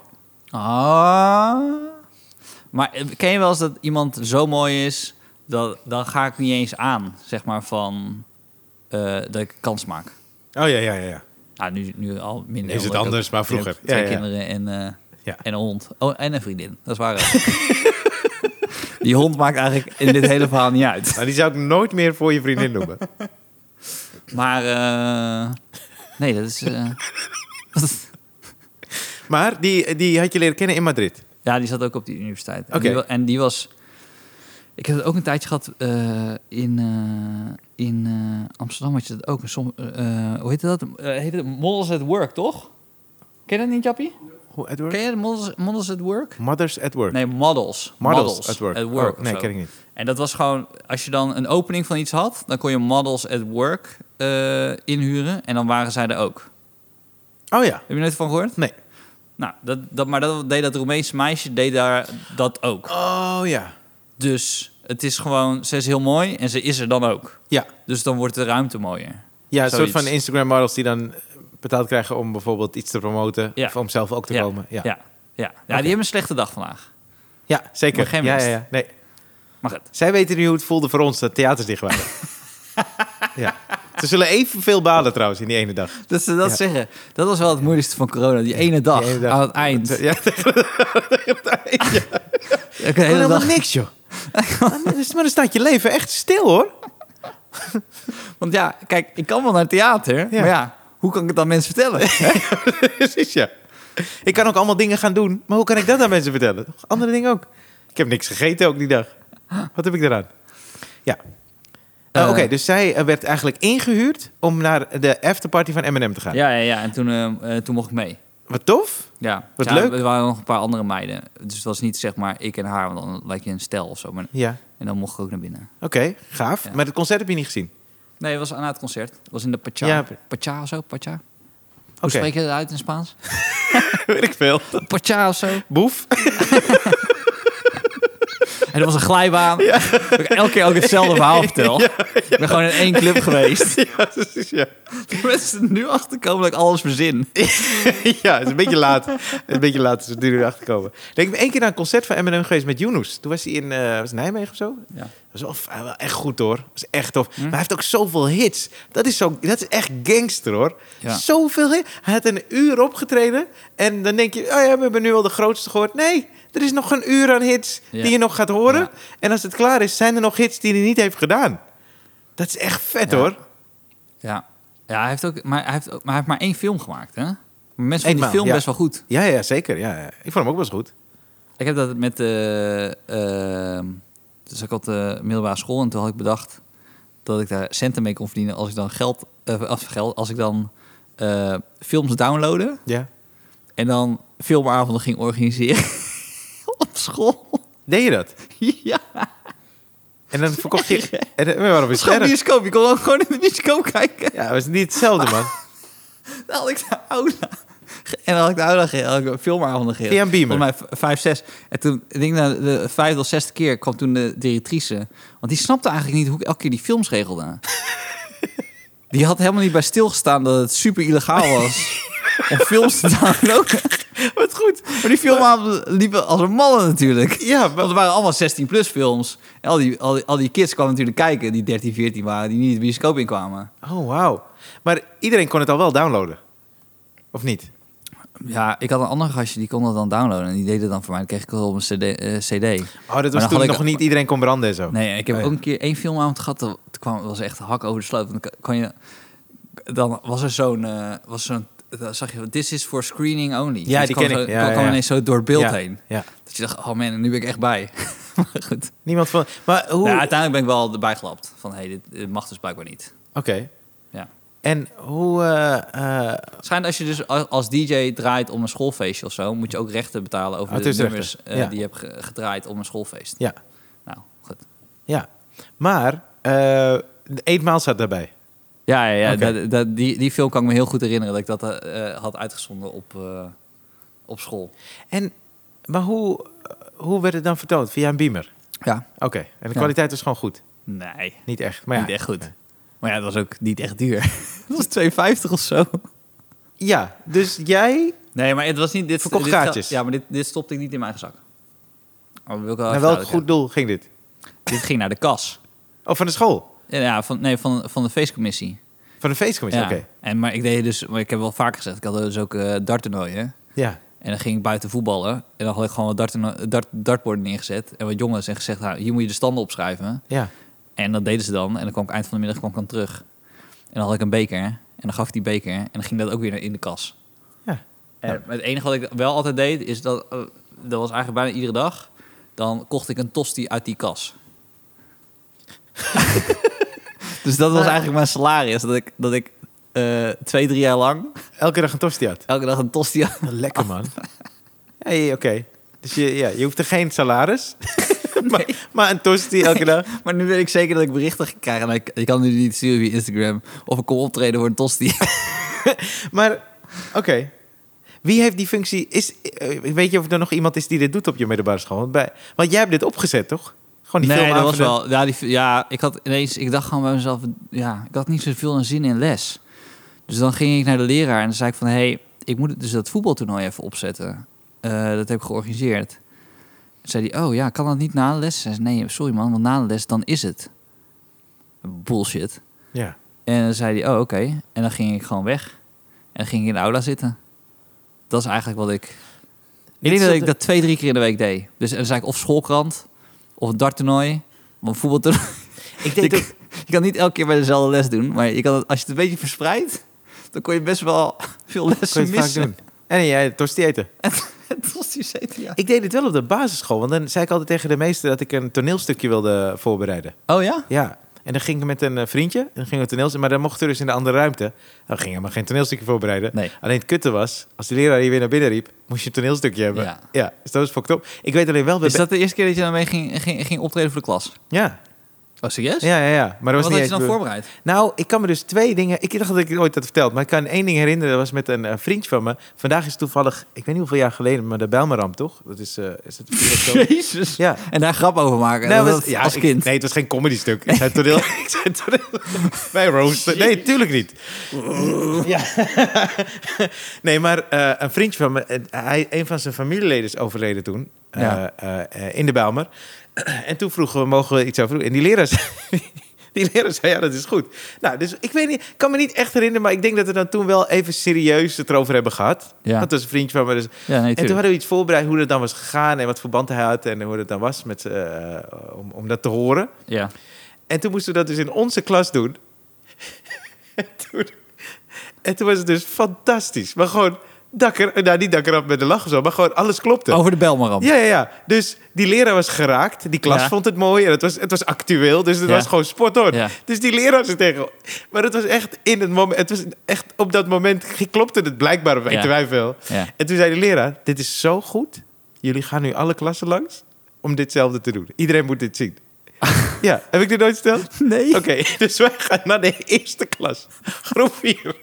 S2: Ah. Maar eh, ken je wel eens dat iemand zo mooi is, dat, dan ga ik niet eens aan, zeg maar, van eh, dat ik kans maak.
S1: Oh ja, ja, ja. ja.
S2: Nou, nu, nu al minder.
S1: Is het
S2: omdat ik
S1: anders,
S2: ook-
S1: maar
S2: ik heb
S1: vroeger.
S2: Twee
S1: Ja, ja.
S2: kinderen en, eh,
S1: Ja.
S2: en een hond. Oh, en een vriendin. Dat is waar. ook. Die hond maakt eigenlijk in dit hele verhaal niet uit.
S1: Nou, die zou ik nooit meer voor je vriendin noemen.
S2: Maar eh, nee, dat is. eh,
S1: Maar die, die had je leren kennen in Madrid.
S2: Ja, die zat ook op die universiteit. En,
S1: Oké.
S2: die, wa- en die was... Ik heb het ook een tijdje gehad eh, in, eh, in eh, Amsterdam. Had je dat ook? Een som, eh, eh, hoe heette dat? Eh heette het Models at Work, toch? Ken je dat niet, Jappie?
S1: Hoe, Edward?
S2: Ken je de models, models at Work?
S1: Mothers at Work.
S2: Nee, Models.
S1: Models, at Work.
S2: At work
S1: Oh,
S2: of
S1: nee,
S2: zo.
S1: ken ik niet.
S2: En dat was gewoon... Als je dan een opening van iets had... dan kon je Models at Work eh, inhuren. En dan waren zij er ook.
S1: Oh ja.
S2: Heb je nooit van gehoord?
S1: Nee.
S2: Nou, dat, dat, maar dat deed dat Roemeense meisje deed daar dat ook.
S1: Oh ja.
S2: Dus het is gewoon, ze is heel mooi en ze is er dan ook.
S1: Ja,
S2: Dus dan wordt de ruimte mooier.
S1: ja een soort
S2: Zoiets.
S1: van Instagram models die dan betaald krijgen om bijvoorbeeld iets te promoten.
S2: Ja.
S1: Of om zelf ook te
S2: ja.
S1: komen. Ja,
S2: Ja, ja. Ja, die hebben een slechte dag vandaag.
S1: Ja, zeker.
S2: Maar geen
S1: ja, ja,
S2: mist.
S1: ja. Nee.
S2: Maar Maar goed.
S1: Zij weten nu hoe het voelde voor ons dat theaters dicht waren. ja. Ze zullen evenveel balen trouwens in die ene dag.
S2: Dat ze dat
S1: Ja.
S2: zeggen. Dat was wel het moeilijkste van corona. Die ene dag,
S1: Die ene dag.
S2: aan het eind.
S1: Ja,
S2: Ik
S1: Oh,
S2: de hele dag.
S1: niks, joh. maar dan staat je leven echt stil, hoor.
S2: Want ja, kijk, ik kan wel naar het theater. Maar ja, hoe kan ik het dan mensen vertellen?
S1: Precies, ja. Ik kan ook allemaal dingen gaan doen, maar hoe kan ik dat aan mensen vertellen? Nog Andere dingen ook. Ik heb niks gegeten ook die dag. Wat heb ik eraan? Ja. Eh,
S2: Eh.
S1: Oké, dus zij eh, werd eigenlijk ingehuurd om naar de afterparty van M&M te gaan.
S2: ja, ja, ja. En toen, eh, eh, toen mocht ik mee.
S1: Wat tof.
S2: Ja.
S1: Wat
S2: Ja,
S1: leuk.
S2: Er waren nog een paar andere meiden. Dus het was niet zeg maar ik en haar, want dan lijkt je een stel of zo. Maar,
S1: Ja,
S2: en dan mocht ik ook naar binnen.
S1: oké, gaaf.
S2: Ja.
S1: Maar het concert heb je niet gezien.
S2: Nee, het was aan het concert. Het was in de Pacha.
S1: Ja.
S2: Pacha of zo, Pacha. Hoe
S1: Oké,
S2: spreek je dat uit in Spaans?
S1: weet ik veel.
S2: Pacha of zo.
S1: Boef.
S2: En er was een glijbaan. Ik heb elke keer ook hetzelfde verhaal verteld. Ik ben gewoon in één club geweest.
S1: ja, precies, ja.
S2: De mensen er nu achterkomen dat ik alles verzin.
S1: ja, het is een beetje laat. Een beetje laat is het nu erachter komen. Nee, ik ben één keer naar een concert van Eminem geweest met Yunus. Toen was hij in eh, was het Nijmegen of zo.
S2: Ja.
S1: Dat was wel, f- wel echt goed hoor. Dat was echt
S2: Hm?
S1: tof. Maar hij heeft ook zoveel hits. Dat is, zo, dat is echt gangster hoor.
S2: Ja.
S1: Zoveel hits. Hij had een uur opgetreden. En dan denk je, oh ja, we hebben nu al de grootste gehoord. Nee, er is nog een uur aan hits
S2: Ja.
S1: die je nog gaat horen.
S2: Ja.
S1: En als het klaar is, zijn er nog hits die hij niet heeft gedaan. Dat is echt vet
S2: Ja.
S1: hoor.
S2: Ja, ja hij, heeft ook, maar hij, heeft ook, maar hij heeft maar één film gemaakt, hè? Maar Mensen vonden
S1: Eenmaal,
S2: die film
S1: ja.
S2: best wel goed.
S1: Ja, ja, zeker. Ja, ja. Ik vond hem ook best goed.
S2: Ik heb dat met... eh eh, dus ik had de middelbare school en toen had ik bedacht... dat ik daar centen mee kon verdienen als ik dan geld... eh, als, geld als ik dan eh, films downloadde...
S1: Ja.
S2: en dan filmavonden ging organiseren op school.
S1: Deed je dat?
S2: ja,
S1: En dan verkocht je... En, dan- maar waarom
S2: dat
S1: is
S2: is gewoon
S1: het erg?
S2: bioscoop. Je kon ook gewoon in de bioscoop kijken.
S1: Ja, het was niet hetzelfde, man.
S2: Dan had ik de aula. En dan had ik de aula gegeven. had ik een filmavonden gegeven.
S1: Via een beamer.
S2: Volgens mij v- vijf, zes. En toen, ik denk na de vijfde of zesde keer kwam toen de directrice. Want die snapte eigenlijk niet hoe ik elke keer die films regelde. die had helemaal niet bij stilgestaan dat het super illegaal was. om films te downloaden.
S1: Wat goed.
S2: Maar die filmavonden liepen als een malle natuurlijk.
S1: Ja, maar-
S2: Want het waren allemaal 16-plus films. En al die, al, die, al die kids kwamen natuurlijk kijken, die 13, 14 waren, die niet de bioscoop inkwamen.
S1: Oh, wauw. Maar iedereen kon het al wel downloaden. Of niet?
S2: Ja, ik had een ander gastje, die kon dat dan downloaden. En die deed het dan voor mij. Dan kreeg ik het op een cd. eh, CD.
S1: Oh, dat
S2: dan
S1: was
S2: had
S1: toen
S2: ik-
S1: nog niet iedereen kon branden en zo.
S2: Nee, ik heb
S1: Oh, ja.
S2: ook een keer één filmavond gehad. Dat dat kwam, was echt hak over de sloot. Want Dan kon je... Dan was er zo'n... eh, was zo'n dan zag je, this is for screening only.
S1: Ja,
S2: Dat
S1: die
S2: kwam
S1: ken
S2: zo-
S1: ik. Ja,
S2: kwam
S1: ja,
S2: kwam
S1: ja.
S2: ineens zo door het beeld
S1: Ja,
S2: heen.
S1: Ja.
S2: Dat je dacht, oh man, nu ben ik echt bij. maar goed.
S1: Niemand van... Maar hoe...
S2: Nou,
S1: Oké.
S2: uiteindelijk ben ik wel erbij gelapt. Van, hé, hey, dit, dit mag dus blijkbaar niet. Ja.
S1: En hoe... eh, eh,
S2: Schijnt als je dus als, als DJ draait om een schoolfeestje of zo... moet je ook rechten betalen over
S1: Ah,
S2: de
S1: het is
S2: nummers
S1: rechten.
S2: eh,
S1: Ja.
S2: die je hebt ge- gedraaid om een schoolfeest.
S1: ja,
S2: Nou, goed.
S1: ja. Maar... eh Eetmaal zat daarbij.
S2: Ja, ja, ja
S1: Oké.
S2: dat, dat, die, die film kan ik me heel goed herinneren dat ik dat eh, had uitgezonden op, eh, op school.
S1: En... Maar hoe... Hoe werd het dan vertoond? Via een beamer?
S2: Ja.
S1: Oké. En de
S2: Ja.
S1: kwaliteit was gewoon goed?
S2: Nee,
S1: Niet echt. Maar ja.
S2: niet echt goed. Maar ja, dat was ook niet echt duur. dat was 2,50 of zo.
S1: Ja, dus jij...
S2: Nee, maar het was niet... Dit,
S1: Verkocht
S2: dit geld-
S1: kaartjes.
S2: Ja, maar dit, dit stopte ik niet in mijn eigen zak. Oh, dat wil ik wel
S1: Naar
S2: even
S1: welk
S2: duidelijk
S1: Nou, goed doel ging dit?
S2: hebben. Dit ging naar de kas.
S1: Oh, van de school?
S2: Ja, Ja, van, nee, van, van de feestcommissie.
S1: Van de feestcommissie?
S2: Ja.
S1: Oké.
S2: En, maar ik deed dus... Maar ik heb wel vaker gezegd, ik had dus ook eh darttoernooien.
S1: Ja.
S2: En dan ging ik buiten voetballen. En dan had ik gewoon wat darten, dart, dartborden neergezet. En wat jongens en gezegd, nou, hier moet je de standen opschrijven.
S1: Ja.
S2: En dat deden ze dan. En dan kwam ik eind van de middag kwam ik dan terug. En dan had ik een beker. En dan gaf ik die beker. En dan ging dat ook weer in de kas.
S1: Ja.
S2: En het enige wat ik wel altijd deed, is dat... eh, dat was eigenlijk bijna iedere dag. Dan kocht ik een tosti uit die kas. dus dat was eigenlijk mijn salaris. Dat ik, dat ik eh, twee, drie jaar lang...
S1: Elke dag een tosti uit.
S2: elke dag een tosti uit...
S1: Lekker man. Hey, oké. Dus je, ja, je hoeft er geen salaris,
S2: Nee.
S1: maar een tosti elke dag.
S2: Maar nu weet ik zeker dat ik berichten ga krijgen. Nou, ik, ik kan nu niet sturen via Instagram. Of ik kom optreden voor een tosti.
S1: Maar oké. Wie heeft die functie? Is, eh, weet je of er nog iemand is die dit doet op je middelbare school? Want, bij, want jij hebt dit opgezet, toch? Gewoon die
S2: nee, dat was
S1: filmavonden.
S2: wel. Ja, die, ja, ik had ineens. Ik dacht gewoon bij mezelf. Ja, ik had niet zoveel zin in les. Dus dan ging ik naar de leraar en dan zei ik van, hé, hey, ik moet dus dat voetbaltoernooi even opzetten. Eh, dat heb ik georganiseerd. zei hij, oh ja, kan dat niet na de les? Hij zei, nee, sorry man, want na de les dan is het. Bullshit.
S1: Ja.
S2: En dan zei hij, oh oké. En dan ging ik gewoon weg. En dan ging ik in de aula zitten. Dat is eigenlijk wat ik... Ik denk dat ik dat twee, drie keer in de week deed. Dus dan zei ik of schoolkrant, of een darttoernooi, of een voetbaltoernooi.
S3: Ik denk
S2: Ik-
S3: dat...
S2: Je kan niet elke keer bij dezelfde les doen, maar je kan het, als je het een beetje verspreidt, dan kon je best wel veel
S1: Kun
S2: lessen
S1: je het vaak
S2: missen.
S1: doen. En jij tosti eten.
S2: Het was die zetel, ja.
S1: Ik deed het wel op de basisschool. Want dan zei ik altijd tegen de meester dat ik een toneelstukje wilde voorbereiden.
S2: Oh ja?
S1: Ja. En dan ging ik met een eh, vriendje. En dan gingen we toneels... Maar dan mochten we dus in de andere ruimte. En dan gingen we maar geen toneelstukje voorbereiden.
S2: Nee.
S1: Alleen het kutte was, als de leraar je weer naar binnen riep... moest je een toneelstukje hebben.
S2: Ja.
S1: dus dat was fucked up. Ik weet alleen wel...
S2: Is
S1: bij-
S2: dat de eerste keer dat je daarmee ging, ging, ging optreden voor de klas?
S1: Ja.
S2: Oh, serieus?
S1: ja, ja, ja. Maar dat was niet
S2: Wat had je
S1: eens
S2: dan
S1: bedoeld.
S2: voorbereid?
S1: Nou, ik kan me dus twee dingen. Ik dacht dat ik ooit had verteld, maar ik kan één ding herinneren. Dat was met een eh, vriendje van me. Vandaag is toevallig, ik weet niet hoeveel jaar geleden, maar de Bijlmerramp, toch? Dat is, eh, is het 4 oktober?
S2: Jezus.
S1: Ja.
S2: En daar grap over maken
S1: Nou,
S2: dat-
S1: was- ja,
S2: als
S1: ik-
S2: kind.
S1: nee, het was geen comedy stuk. Ik zei toneel. ik zei toneel. Wij roosten. Nee, tuurlijk niet. ja. nee, maar eh, een vriendje van me, eh, hij, een van zijn familieleden is overleden toen. eh,
S2: Ja.
S1: eh, eh, in de Bijlmer. en toen vroegen we, mogen we iets over doen? En die leraar zei, die leraar zei, ja, dat is goed. Nou, dus ik weet niet, ik kan me niet echt herinneren, maar ik denk dat we dan toen wel even serieus het erover hebben gehad.
S2: Ja.
S1: Want dat is een vriendje van me, dus
S2: Ja, nee,
S1: en toen
S2: tuurlijk.
S1: hadden we iets voorbereid hoe dat dan was gegaan en wat verband hij had en hoe dat dan was met, eh, om, om dat te horen.
S2: Ja.
S1: En toen moesten we dat dus in onze klas doen. en, toen, en toen was het dus fantastisch. Maar gewoon dakker, nou niet dakker af met de lach of zo, maar gewoon alles klopte.
S2: Over de Belmaram.
S1: Ja, ja, ja. Dus die leraar was geraakt. Die klas
S2: Ja.
S1: vond het mooi. En het was, het was actueel. Dus het
S2: Ja.
S1: was gewoon spot on.
S2: Ja.
S1: Dus die leraar ze tegen. Maar het was echt in het moment. Het was echt op dat moment. Klopte het blijkbaar. Weten
S2: Ja.
S1: wij veel.
S2: Ja.
S1: En toen zei de leraar: Dit is zo goed. Jullie gaan nu alle klassen langs. Om ditzelfde te doen. Iedereen moet dit zien. ja, heb ik dit nooit verteld?
S2: Nee.
S1: Oké, dus wij gaan naar de eerste klas. Groep 4.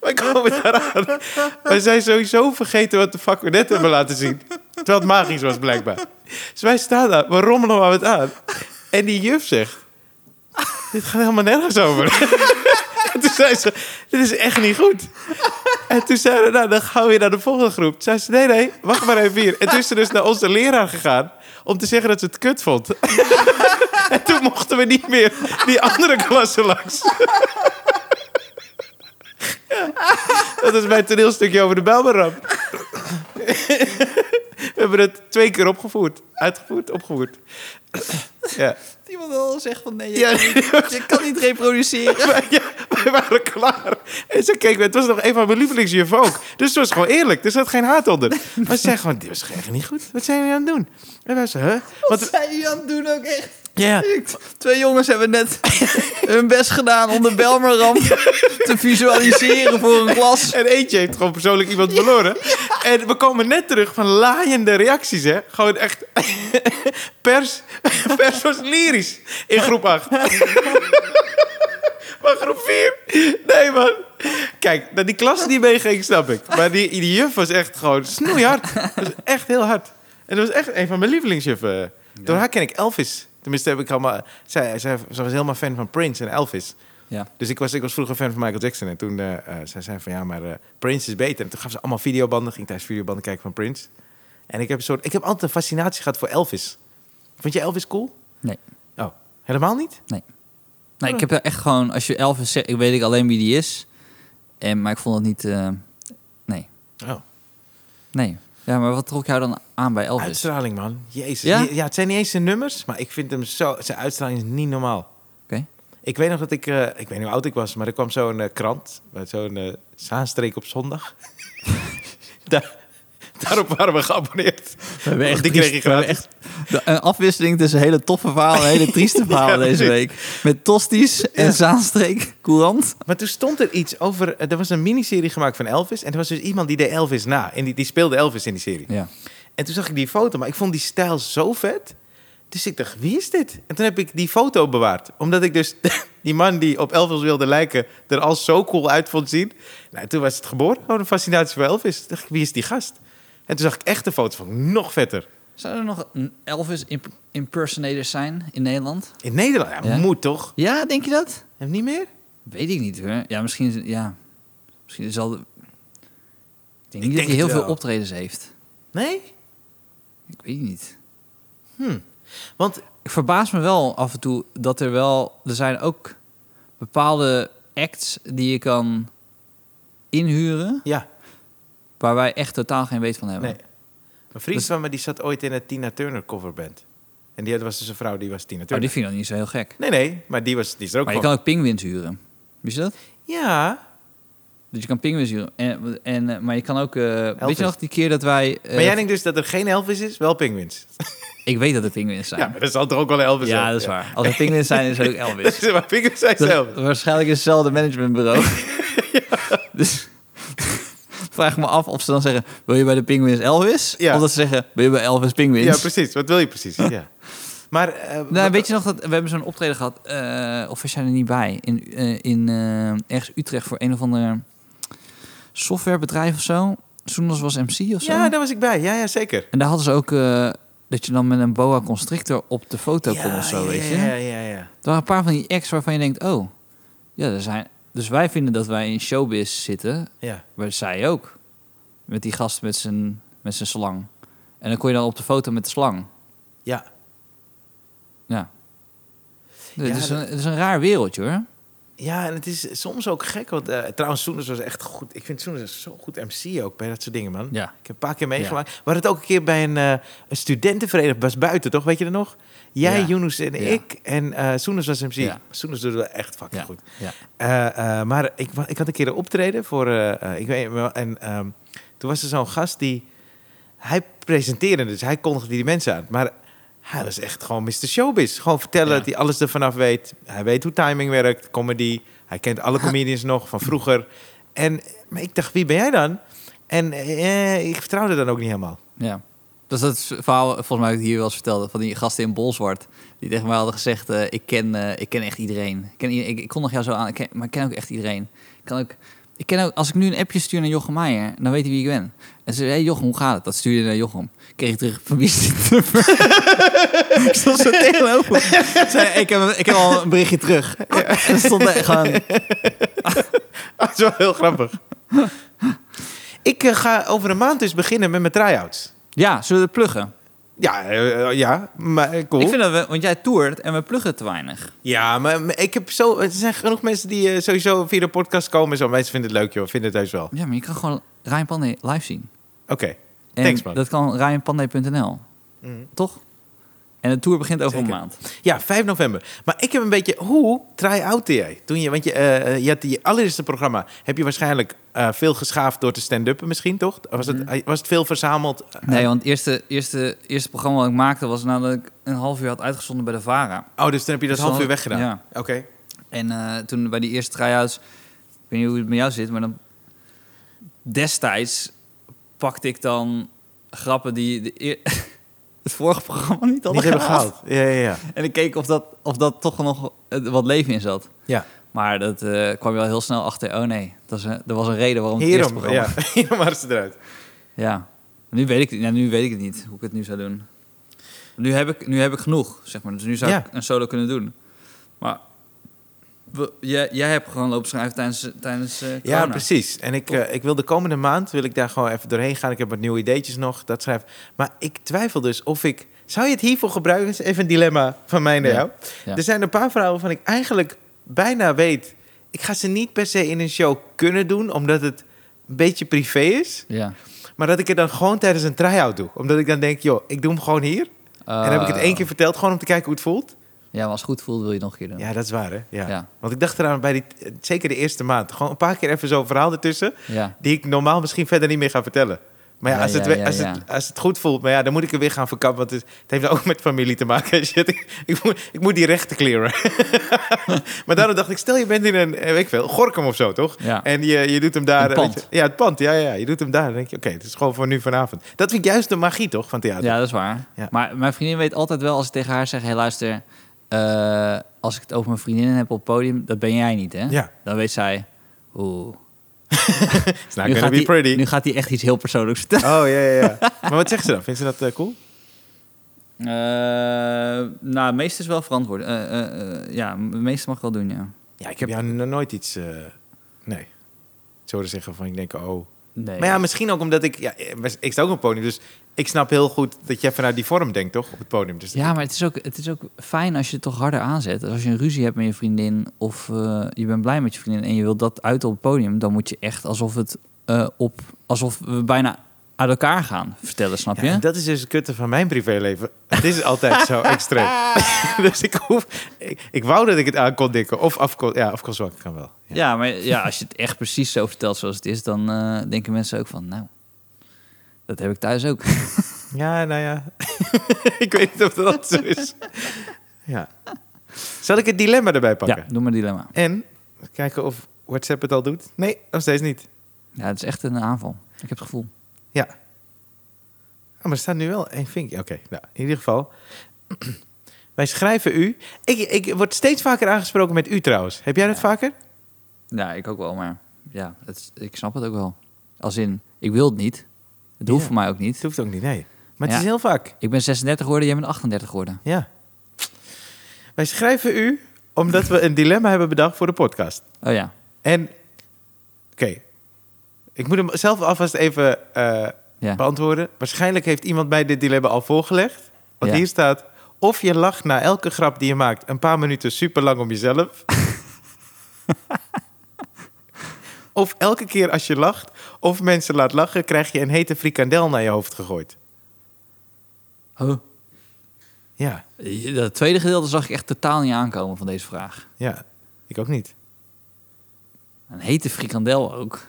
S1: Wij komen daaraan. Wij zijn sowieso vergeten wat de fuck we net hebben laten zien. Terwijl het magisch was, blijkbaar. Dus wij staan daar, we rommelen maar wat aan. En die juf zegt... Dit gaat helemaal nergens over. en toen zei ze, dit is echt niet goed. En toen zeiden we, nou, dan gaan we weer naar de volgende groep. Toen zei ze, nee, nee, wacht maar even hier. En toen is ze dus naar onze leraar gegaan... om te zeggen dat ze het kut vond. en toen mochten we niet meer die andere klassen langs. Dat is mijn toneelstukje over de Belmerramp. We hebben het twee keer opgevoerd. Uitgevoerd, opgevoerd. Ja.
S2: Iemand al zegt van nee, je,
S1: Ja.
S2: kan, niet, je kan niet reproduceren.
S1: Wij, ja, wij waren klaar. En ze keek, me- het was nog een van mijn lievelingsjuffen ook. Dus het was gewoon eerlijk. Er zat geen haat onder. Maar ze zei gewoon, dit was echt niet goed. Wat zijn jullie aan het doen? En wij zeiden, huh?
S2: Wat
S1: Want,
S2: zijn jullie aan het doen ook echt?
S1: ja,
S2: Twee jongens hebben net hun best gedaan om de Belmaram te visualiseren voor een klas.
S1: En eentje heeft gewoon persoonlijk iemand verloren. En we komen net terug van laaiende reacties, hè. Gewoon echt... Pers, pers was lyrisch in groep 8. Maar groep 4? Nee, man. Kijk, dat die klas niet meeging, snap ik. Maar die, die juf was echt gewoon snoeihard. Dat was echt heel hard. En dat was echt een van mijn lievelingsjuffen. Door haar ken ik Elvis. Tenminste, heb ik allemaal... Zij, zij, zij was helemaal fan van Prince en Elvis.
S2: Ja.
S1: Dus ik was, ik was vroeger fan van Michael Jackson. En toen eh, eh, zij zei van ja, maar eh, Prince is beter. En toen gaf ze allemaal videobanden. Ging thuis videobanden kijken van Prince. En ik heb, een soort, ik heb altijd een fascinatie gehad voor Elvis. Vond je Elvis cool?
S2: Nee.
S1: Oh, helemaal niet?
S2: Nee, ik heb daar echt gewoon, als je Elvis zegt, ik weet ik alleen wie die is. En, maar ik vond het niet, eh, nee.
S1: Oh.
S2: Nee. Ja, maar wat trok jou dan aan bij Elvis? Oké.
S1: Uitstraling, man. Jezus.
S2: Ja?
S1: Ja? het zijn niet eens zijn nummers, maar ik vind hem zo... Zijn uitstraling is niet normaal. Ik weet nog dat ik... eh, ik weet niet hoe oud ik was, maar er kwam zo'n eh, krant. Met zo'n eh, Zaanstreek op zondag. Daar, daarop waren we geabonneerd.
S2: We hebben
S1: Want die kreeg je
S2: triest- we hebben
S1: gratis.
S2: echt de- een afwisseling tussen hele toffe verhalen en hele trieste verhalen
S1: Ja,
S2: deze
S1: precies.
S2: week. Met Tosties en Zaanstreek, Courant.
S1: Maar toen stond er iets over... eh, Er was een miniserie gemaakt van Elvis. En er was dus iemand die deed Elvis na. En die, die speelde Elvis in die serie.
S2: Ja.
S1: En toen zag ik die foto, maar ik vond die stijl zo vet. Dus ik dacht, wie is dit? En toen heb ik die foto bewaard. Omdat ik dus die man die op Elvis wilde lijken... er al zo cool uit vond zien. Nou, toen was het geboren. Gewoon een fascinatie voor Elvis. Toen dacht ik, wie is die gast? En toen zag ik echt de foto van nog vetter.
S2: Zou er nog een Elvis imp- impersonators zijn in Nederland?
S1: In Nederland, ja,
S2: Ja?
S1: moet toch?
S2: Ja, denk je dat?
S1: Heb je niet meer?
S2: Weet ik niet hoor. Ja, misschien, ja. misschien zal... de- Ik denk
S1: Ik denk
S2: niet dat hij heel
S1: het
S2: veel
S1: wel.
S2: optredens heeft.
S1: Nee?
S2: Ik weet het niet.
S3: Hm. Want
S2: Ik verbaas me wel af en toe dat er wel... Er zijn ook bepaalde acts die je kan inhuren...
S1: Ja.
S2: waar wij echt totaal geen weet van hebben.
S1: Nee. Een vriend
S2: Dus-
S1: van me die zat ooit in een Tina Turner coverband. En die had- was dus een vrouw die was Tina
S2: Maar
S1: Turner.
S2: Oh, die vind ik dan niet zo heel gek.
S1: Nee, nee, maar die, was, die is er ook
S2: Maar je
S1: van.
S2: kan ook pinguïns huren. Wist je dat?
S1: Ja,
S2: Dus je kan pinguïns huren. En, en, eh, maar je kan ook... eh, weet
S1: Elvis.
S2: je nog die keer dat wij... eh,
S1: maar jij denkt dus dat er geen Elvis is, wel penguins.
S2: Ik weet dat er pinguïns zijn.
S1: Ja, maar dat zal toch ook wel een Elvis
S2: Ja,
S1: zijn?
S2: dat is waar. Als er pinguïns zijn, is er ook Elvis.
S1: Dus, maar penguins zijn
S2: Dat-
S1: zelf.
S2: waarschijnlijk is hetzelfde managementbureau. Dus vraag me af of ze dan zeggen... wil je bij de pinguïns Elvis?
S1: Ja.
S2: Of dat ze zeggen, wil je bij Elvis
S1: Ja,
S2: pinguïns?
S1: precies. Wat wil je precies? Ja. Maar eh,
S2: Nou,
S1: wat-
S2: weet je nog dat we hebben zo'n optreden gehad, eh, of was jij er niet bij, in, eh, in eh, ergens Utrecht voor een of ander softwarebedrijf of zo. Soendas was MC of zo.
S1: ja, daar was ik bij. Ja, ja zeker.
S2: En daar hadden ze ook eh, dat je dan met een boa constrictor op de foto kon of zo,
S1: ja,
S2: weet je.
S1: Ja, ja, ja.
S2: Er waren een paar van die acts waarvan je denkt, oh, ja, er zijn... Dus wij vinden dat wij in showbiz zitten,
S1: ja.
S2: maar zij ook. Met die gast met zijn, met zijn slang. En dan kon je dan op de foto met de slang.
S1: ja.
S2: Ja. Het,
S1: Ja,
S2: is
S1: dat-
S2: een, het is een raar wereldje, hoor.
S1: Ja, en het is soms ook gek. Want eh, trouwens, Soenus was echt goed. Ik vind Soenus zo goed MC ook bij dat soort dingen, man.
S2: Ja.
S1: Ik heb een paar keer meegemaakt. We hadden het ook een keer bij een, eh, een studentenvereniging. Bas Buiten, toch? Weet je dat nog? Jij,
S2: Ja.
S1: Yunus en
S2: Ja.
S1: ik. En eh Soenus was MC.
S2: Ja.
S1: Soenus doet het wel echt fucking
S2: Ja.
S1: goed.
S2: Ja.
S1: Eh, eh, maar ik, wa- ik had een keer een optreden voor... eh, eh, ik weet wel, en ehm, toen was er zo'n gast die... Hij presenteerde, dus hij kondigde die mensen aan. Maar hij was echt gewoon Mr. Showbiz. Gewoon vertellen
S2: Ja.
S1: dat hij alles ervan af weet. Hij weet hoe timing werkt, comedy. Hij kent alle comedians nog van vroeger. En maar ik dacht, wie ben jij dan? En eh, ik vertrouwde dan ook niet helemaal.
S2: Ja. Dus dat is het verhaal, volgens mij, dat ik hier wel eens vertelde, van die gasten in Bolzwart. Die tegen mij hadden gezegd, eh, ik, ken, eh, ik ken echt iedereen. Ik, ken, i- ik, ik kon nog jou zo aan, ik ken- maar ik ken ook echt iedereen. Ik kan ook, ik ken ook, als ik nu een appje stuur naar Jochem Meijer, dan weet hij wie ik ben. En ze zei, hey Jochem, hoe gaat het? Dat stuurde je naar Jochem. Kreeg ik terug, van wie is dit nummer? ik stond zo tegenover me. Ik zei, ik heb, ik heb al een berichtje terug. En er stond er gewoon,
S1: Dat is wel heel grappig. ik eh, ga over een maand dus beginnen met mijn try-outs.
S2: ja, zullen we het pluggen?
S1: Ja, eh, eh, ja, maar eh, cool.
S2: Ik vind dat we, want jij toert en we pluggen te weinig.
S1: Ja, maar maar ik heb zo. Er zijn genoeg mensen die eh, sowieso via de podcast komen. en Zo, mensen vinden het leuk, joh. Vinden het heus wel.
S2: Ja, maar je kan gewoon Ryan Pandey live zien.
S1: Oké.
S2: En
S1: Thanks, man.
S2: dat kan ryanpandey.nl.
S1: Mm.
S2: Toch? En de tour begint over
S1: Zeker.
S2: een maand.
S1: Ja, 5 november. Maar ik heb een beetje. Hoe try-outte jij? Toen je, want je, eh, eh, je had die allereerste programma. Heb je waarschijnlijk eh, veel geschaafd door te stand-uppen, misschien toch? Was het, eh, was het veel verzameld? Eh,
S2: Mhm. Nee, want het eerste, eerste, eerste programma wat ik maakte was nadat ik een half uur had uitgezonden bij de VARA.
S1: Oh, dus toen heb je dat
S2: Dus
S1: half
S2: dan-
S1: uur weggedaan.
S2: ja.
S1: Oké.
S2: En eh, toen bij die eerste try-outs, ik weet niet hoe het met jou zit, maar dan destijds pakte ik dan grappen die de eer- het vorige programma niet hadden
S1: Niet hebben
S2: gehaald.
S1: gehaald. Ja, ja, ja.
S2: En ik keek of dat, of dat toch nog eh, wat leven in zat.
S1: ja.
S2: Maar dat eh, kwam je al heel snel achter. Oh nee, dat is een- er was een reden waarom het eerste
S1: Hierom,
S2: programma...
S1: ja. Hierom waren ze eruit.
S2: Ja, nu weet ik, het- nou, nu weet ik het niet hoe ik het nu zou doen. Nu heb ik, nu heb ik genoeg, zeg maar. Dus nu zou
S1: Ja.
S2: ik een solo kunnen doen. Maar we- jij, jij hebt gewoon lopen schrijven tijdens, tijdens eh,
S1: Ja,
S2: corona.
S1: precies. En ik,
S2: Top.
S1: eh, ik wil de komende maand wil ik daar gewoon even doorheen gaan. Ik heb wat nieuwe ideetjes nog, dat schrijf. Maar ik twijfel dus of ik... Zou je het hiervoor gebruiken? is even een dilemma van mij naar
S2: Ja.
S1: jou.
S2: Ja.
S1: Er zijn een paar vrouwen waarvan ik eigenlijk bijna weet... Ik ga ze niet per se in een show kunnen doen, omdat het een beetje privé is.
S2: Ja.
S1: Maar dat ik het dan gewoon tijdens een try-out doe. Omdat ik dan denk, joh, ik doe hem gewoon hier. en dan heb
S2: Ah.
S1: ik het één keer verteld, gewoon om te kijken hoe het voelt.
S2: Eh, Ja, maar als het goed voelt wil je het nog een keer doen.
S1: Ja, dat is waar, hè? Ja.
S2: Ja.
S1: Want ik dacht eraan, bij die, eh, zeker de eerste maand... gewoon een paar keer even zo'n verhaal ertussen
S2: Ja.
S1: die ik normaal misschien verder niet meer ga vertellen. Maar ja,
S2: Ja,
S1: als, het,
S2: ja,
S1: we-
S2: ja,
S1: als,
S2: ja.
S1: Het, als het goed voelt, maar ja, dan moet ik er weer gaan verkappen. Want het, het heeft ook met familie te maken. Shit, ik, ik, moet, ik moet die rechten clearen. maar daarom dacht ik, stel je bent in een, eh, weet ik veel, Gorkum of zo, toch?
S2: Ja.
S1: En je, je doet hem daar.
S2: Een
S1: eh, weet
S2: pand.
S1: je- ja, het pand. Ja, ja, je doet hem daar. Dan denk je, oké, het is gewoon voor nu vanavond. Dat vind ik juist de magie, toch, van theater?
S2: Ja, dat is waar.
S1: Ja.
S2: Maar mijn vriendin weet altijd wel als ik tegen haar zeg... Hé, luister, eh, als ik het over mijn vriendinnen heb op het podium... dat ben jij niet, hè?
S1: Ja.
S2: Dan weet zij... Oeh,
S1: It's not Nou, gonna be
S2: die-
S1: pretty.
S2: nu gaat hij echt iets heel persoonlijks vertellen.
S1: Oh, ja, ja, ja. maar wat zegt ze dan? Vindt ze dat eh, cool?
S2: Eh, nou, meest is wel verantwoord. Eh, eh, eh, ja, meest mag ik wel doen, ja.
S1: Ja, ik heb jou nog nooit iets... eh, nee. Ik zou er zeggen van, ik denk, oh,
S2: Nee.
S1: Maar ja, misschien ook omdat ik... Ja, ik sta ook op het podium, dus ik snap heel goed dat jij vanuit die vorm denkt, toch? Op het podium. Dus
S2: Ja, maar het is, ook, het is ook fijn als je het toch harder aanzet. Als je een ruzie hebt met je vriendin of eh, je bent blij met je vriendin en je wilt dat uit op het podium, dan moet je echt alsof het eh, op alsof we bijna uit elkaar gaan vertellen, snap
S1: Ja,
S2: je?
S1: en dat is dus het kutte van mijn privéleven. Het is altijd zo extreem. dus ik hoef... Ik, ik wou dat ik het aan kon dikken. Of af kon... Ja, af kon zwakken kan wel. Ja.
S2: Ja, maar ja, als je het echt precies zo vertelt zoals het is, dan eh, denken mensen ook van, nou, dat heb ik thuis ook.
S1: Ja, nou ja. ik weet niet of dat zo is. Ja. Zal ik het dilemma erbij pakken?
S2: Ja, doe maar dilemma.
S1: En kijken of WhatsApp het al doet. Nee, nog steeds niet.
S2: Ja, het is echt een aanval. Ik heb het gevoel.
S1: Ja. Ah, maar er staat nu wel één vinkje. Oké, nou, in ieder geval. Wij schrijven u. Ik, ik word steeds vaker aangesproken met u trouwens. Heb jij dat vaker?
S2: Ja, ik ook wel, maar ja, het, ik snap het ook wel. Als in, ik wil het niet. Het hoeft
S1: Ja.
S2: voor mij ook niet.
S1: Het hoeft ook niet, nee. Maar het
S2: Ja.
S1: is heel vaak.
S2: Ik ben 36 geworden, jij bent 38 geworden.
S1: Ja. Wij schrijven u omdat we een dilemma hebben bedacht voor de podcast.
S2: Oh ja.
S1: En, oké. Ik moet hem zelf alvast even eh,
S2: Ja.
S1: beantwoorden. Waarschijnlijk heeft iemand mij dit dilemma al voorgelegd. Want
S2: Ja.
S1: hier staat... Of je lacht na elke grap die je maakt een paar minuten super lang om jezelf. of elke keer als je lacht of mensen laat lachen... krijg je een hete frikandel naar je hoofd gegooid.
S2: Oh.
S1: Ja,
S2: Dat tweede gedeelte zag ik echt totaal niet aankomen van deze vraag.
S1: ja. Ik ook niet.
S2: Een hete frikandel ook.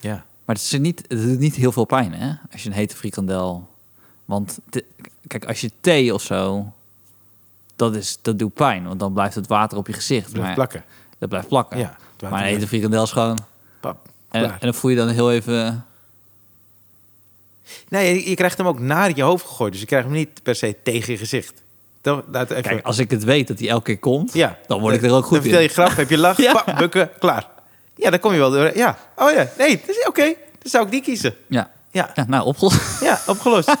S1: Ja.
S2: Maar het, is er niet, het doet niet heel veel pijn, hè? Als je een hete frikandel... Want te- kijk, als je thee of zo... Dat, is, dat doet pijn, want dan blijft het water op je gezicht.
S1: Het blijft
S2: maar,
S1: plakken.
S2: Dat blijft plakken.
S1: Ja, het water
S2: maar Eh, een hete
S1: blijft-
S2: frikandel is gewoon...
S1: Pap.
S2: En,
S1: klaar.
S2: en dan voel je dan heel even...
S1: Nee, je, je krijgt hem ook naar je hoofd gegooid. Dus je krijgt hem niet per se tegen je gezicht. Dan, laat even...
S2: Kijk, als ik het weet dat die elke keer komt...
S1: ja.
S2: dan word ik er ook goed
S1: Dan vertel je
S2: in.
S1: grap, heb je lach,
S2: Ja.
S1: pa, bukken, klaar. Ja, dan kom je wel door. Ja. Oh ja, nee, dat is oké. Dan zou ik die kiezen.
S2: Ja.
S1: Ja,
S2: ja, nou, opgelost.
S1: ja opgelost.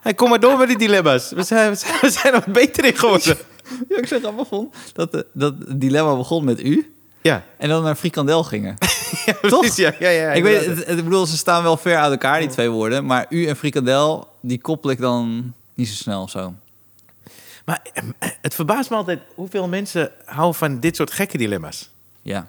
S1: Hey, kom maar door met die dilemma's. We zijn, we zijn, we zijn er wat beter in geworden.
S2: Ja, ik zo grappig vond dat, de- dat het dilemma begon met u
S1: Ja,
S2: en dan naar frikandel gingen.
S1: ja precies. Ja, ja, ja,
S2: ik, weet,
S1: inderdaad.
S2: het, het- ik bedoel, ze staan wel ver uit elkaar, die twee woorden. Maar u en frikandel, die koppel ik dan niet zo snel of zo.
S1: Maar eh, het verbaast me altijd hoeveel mensen houden van dit soort gekke dilemma's.
S2: Ja.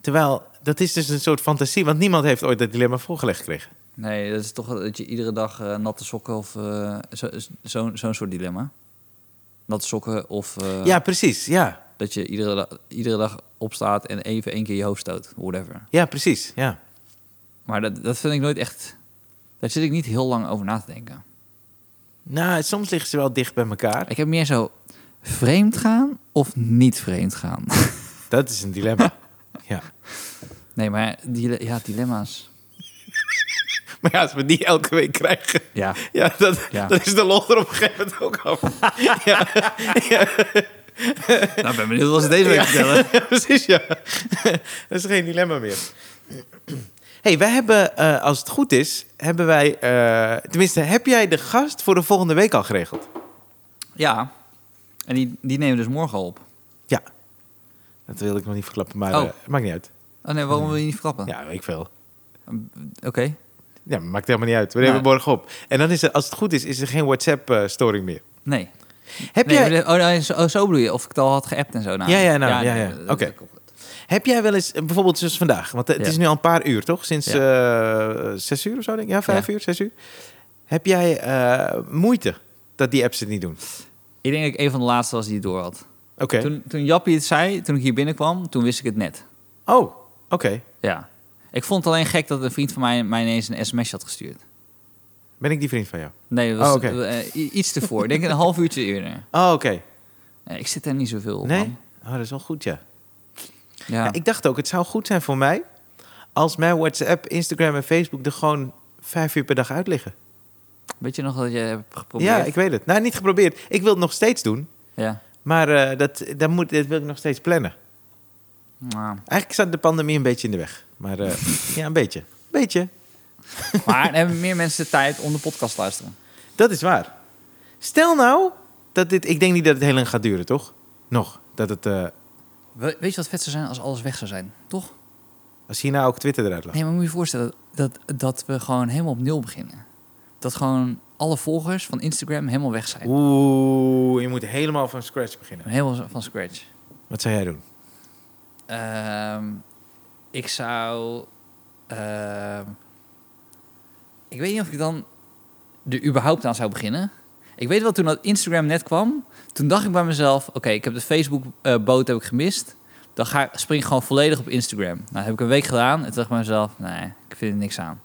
S1: Terwijl, dat is dus een soort fantasie. Want niemand heeft ooit dat dilemma voorgelegd gekregen.
S2: Nee, dat is toch dat je iedere dag eh, natte sokken of eh, zo- zo'n zo'n soort dilemma. Natte sokken of eh,
S1: Ja, precies. Ja,
S2: dat je iedere, da- iedere dag opstaat en even één keer je hoofd stoot. Whatever.
S1: Ja, precies. Ja.
S2: Maar dat, dat vind ik nooit echt... Daar zit ik niet heel lang over na te denken.
S1: Nou, soms liggen ze wel dicht bij elkaar.
S2: Ik heb meer zo vreemd gaan of niet vreemd gaan.
S1: Dat is een dilemma. ja.
S2: Nee, maar die, ja, dilemma's.
S1: Maar ja, als we die elke week krijgen,
S2: Ja.
S1: ja, dat,
S2: Ja.
S1: dan is de lol er op een gegeven moment ook af. ja.
S2: Nou, ik ben benieuwd wat ze deze week vertellen.
S1: Ja, precies, ja. dat is geen dilemma meer. hey, wij hebben, eh, als het goed is, hebben wij... eh, tenminste, heb jij de gast voor de volgende week al geregeld?
S2: Ja. En die, die nemen we dus morgen al op.
S1: Ja. Dat wil ik nog niet verklappen, maar
S2: Oh.
S1: eh, maakt niet uit.
S2: Oh nee, waarom wil je niet verklappen?
S1: Ja, weet ik veel.
S2: Oké.
S1: Ja, maakt helemaal niet uit. We
S2: Nee.
S1: nemen morgen op. En dan is er, als het goed is, is er geen WhatsApp-storing meer.
S2: Nee.
S1: Heb,
S2: nee
S1: jij,
S2: maar de- Oh, nee, zo, zo bedoel je. Of ik het al had geappt en zo. Nou,
S1: Ja, ja, nou, ja, ja.
S2: dat-
S1: Oké. heb jij wel eens, eh, bijvoorbeeld zoals vandaag, want eh, het
S2: Ja.
S1: is nu al een paar uur, toch? Sinds eh, zes uur of zo, denk ik. Ja, vijf
S2: Ja.
S1: uur, zes uur. Heb jij eh, moeite dat die apps het niet doen?
S2: Ik denk dat ik een van de laatste was die het door had.
S1: Oké.
S2: Toen, toen Jappie het zei, toen ik hier binnenkwam, toen wist ik het net.
S1: Oh, oké.
S2: Ja. Ik vond het alleen gek dat een vriend van mij mij ineens een sms had gestuurd.
S1: Ben ik die vriend van jou?
S2: Nee, dat was
S1: Oh, oké.
S2: eh, i- iets ervoor. Ik denk een half uurtje eerder.
S1: Oh, oké.
S2: Nee, ik zit daar niet zoveel op.
S1: Nee?
S2: man.
S1: Oh, dat is wel goed, ja.
S2: Ja.
S1: Ja, Ik dacht ook, het zou goed zijn voor mij als mijn WhatsApp, Instagram en Facebook er gewoon vijf uur per dag uit liggen.
S2: Weet je nog dat je hebt geprobeerd?
S1: Ja, ik weet het. Nou, niet geprobeerd. Ik wil het nog steeds doen,
S2: Ja.
S1: maar eh, dat, dat, moet, dat wil ik nog steeds plannen.
S2: Nou,
S1: Eigenlijk staat de pandemie een beetje in de weg. Maar eh, ja, een beetje. Beetje.
S2: Maar dan hebben meer mensen de tijd om de podcast te luisteren.
S1: Dat is waar. Stel nou dat dit... Ik denk niet dat het heel lang gaat duren, toch? Nog. Dat het... eh,
S2: We- weet je wat vet zou zijn als alles weg zou zijn? Toch?
S1: als China ook Twitter eruit lag.
S2: Nee, maar moet je je voorstellen, dat, dat we gewoon helemaal op nul beginnen. Dat gewoon alle volgers van Instagram helemaal weg zijn.
S1: Oeh, je moet helemaal van scratch beginnen.
S2: Helemaal van scratch.
S1: Wat zou jij doen?
S2: Ehm, ik zou. ehm, ik weet niet of ik dan er überhaupt aan zou beginnen. Ik weet wel, toen dat Instagram net kwam, toen dacht ik bij mezelf: oké, ik heb de Facebook-boot heb ik gemist. Dan ga, spring ik gewoon volledig op Instagram. Nou, dat heb ik een week gedaan. En toen dacht ik bij mezelf: nee, ik vind er niks aan.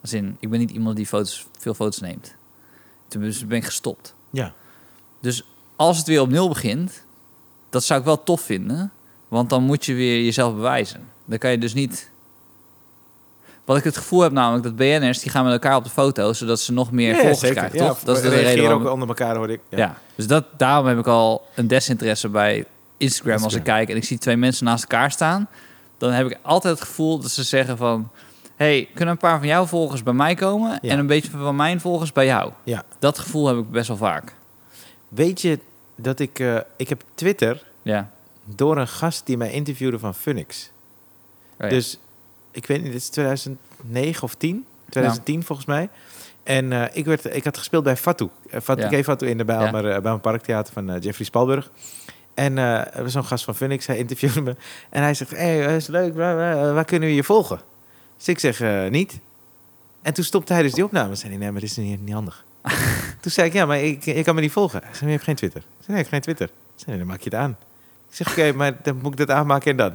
S2: Als in, ik ben niet iemand die foto's, veel foto's neemt. Toen dus ben ik gestopt.
S1: Ja.
S2: Dus als het weer op nul begint, dat zou ik wel tof vinden. Want dan moet je weer jezelf bewijzen. Dan kan je dus niet. Wat ik het gevoel heb namelijk dat BN'ers die gaan met elkaar op de foto, zodat ze nog meer volgers krijgen.
S1: Ja,
S2: toch? dat is de
S1: reageren
S2: reden. Waarom...
S1: ook onder elkaar, hoor ik.
S2: ja. dus dat, daarom heb ik al een desinteresse bij Instagram als ik
S1: Instagram.
S2: kijk en ik zie twee mensen naast elkaar staan. Dan heb ik altijd het gevoel dat ze zeggen van. hey, kunnen een paar van jouw volgers bij mij komen
S1: Ja.
S2: en een beetje van mijn volgers bij jou?
S1: Ja.
S2: Dat gevoel heb ik best wel vaak.
S1: Weet je dat ik... eh, ik heb Twitter
S2: Ja.
S1: door een gast die mij interviewde van Funix.
S2: Oh ja.
S1: Dus ik weet niet, dit is 2009 of 10. 2010 volgens mij. En eh, ik, werd, ik had gespeeld bij Fatou. Uh, Fatou,
S2: Ja.
S1: ik Fatou in de
S2: Ja.
S1: Bijlmer, eh, Bijlmer Parktheater van eh, Jeffrey Spalburg. En eh, er was zo'n gast van Phoenix, hij interviewde me. En hij zegt, hey, eh, is leuk, bla, bla, eh, waar kunnen we je volgen? Dus ik zeg, eh, niet. En toen stopte hij dus die opname. zei hij, nee, maar dit is niet, niet handig. toen zei ik, ja, maar ik, ik kan me niet volgen. Hij zei, maar je hebt geen Twitter. Ik zei, nee, ik heb geen Twitter. Ik zei, nee, dan maak je het aan. Ik zeg, oké, maar dan moet ik dat aanmaken en dan.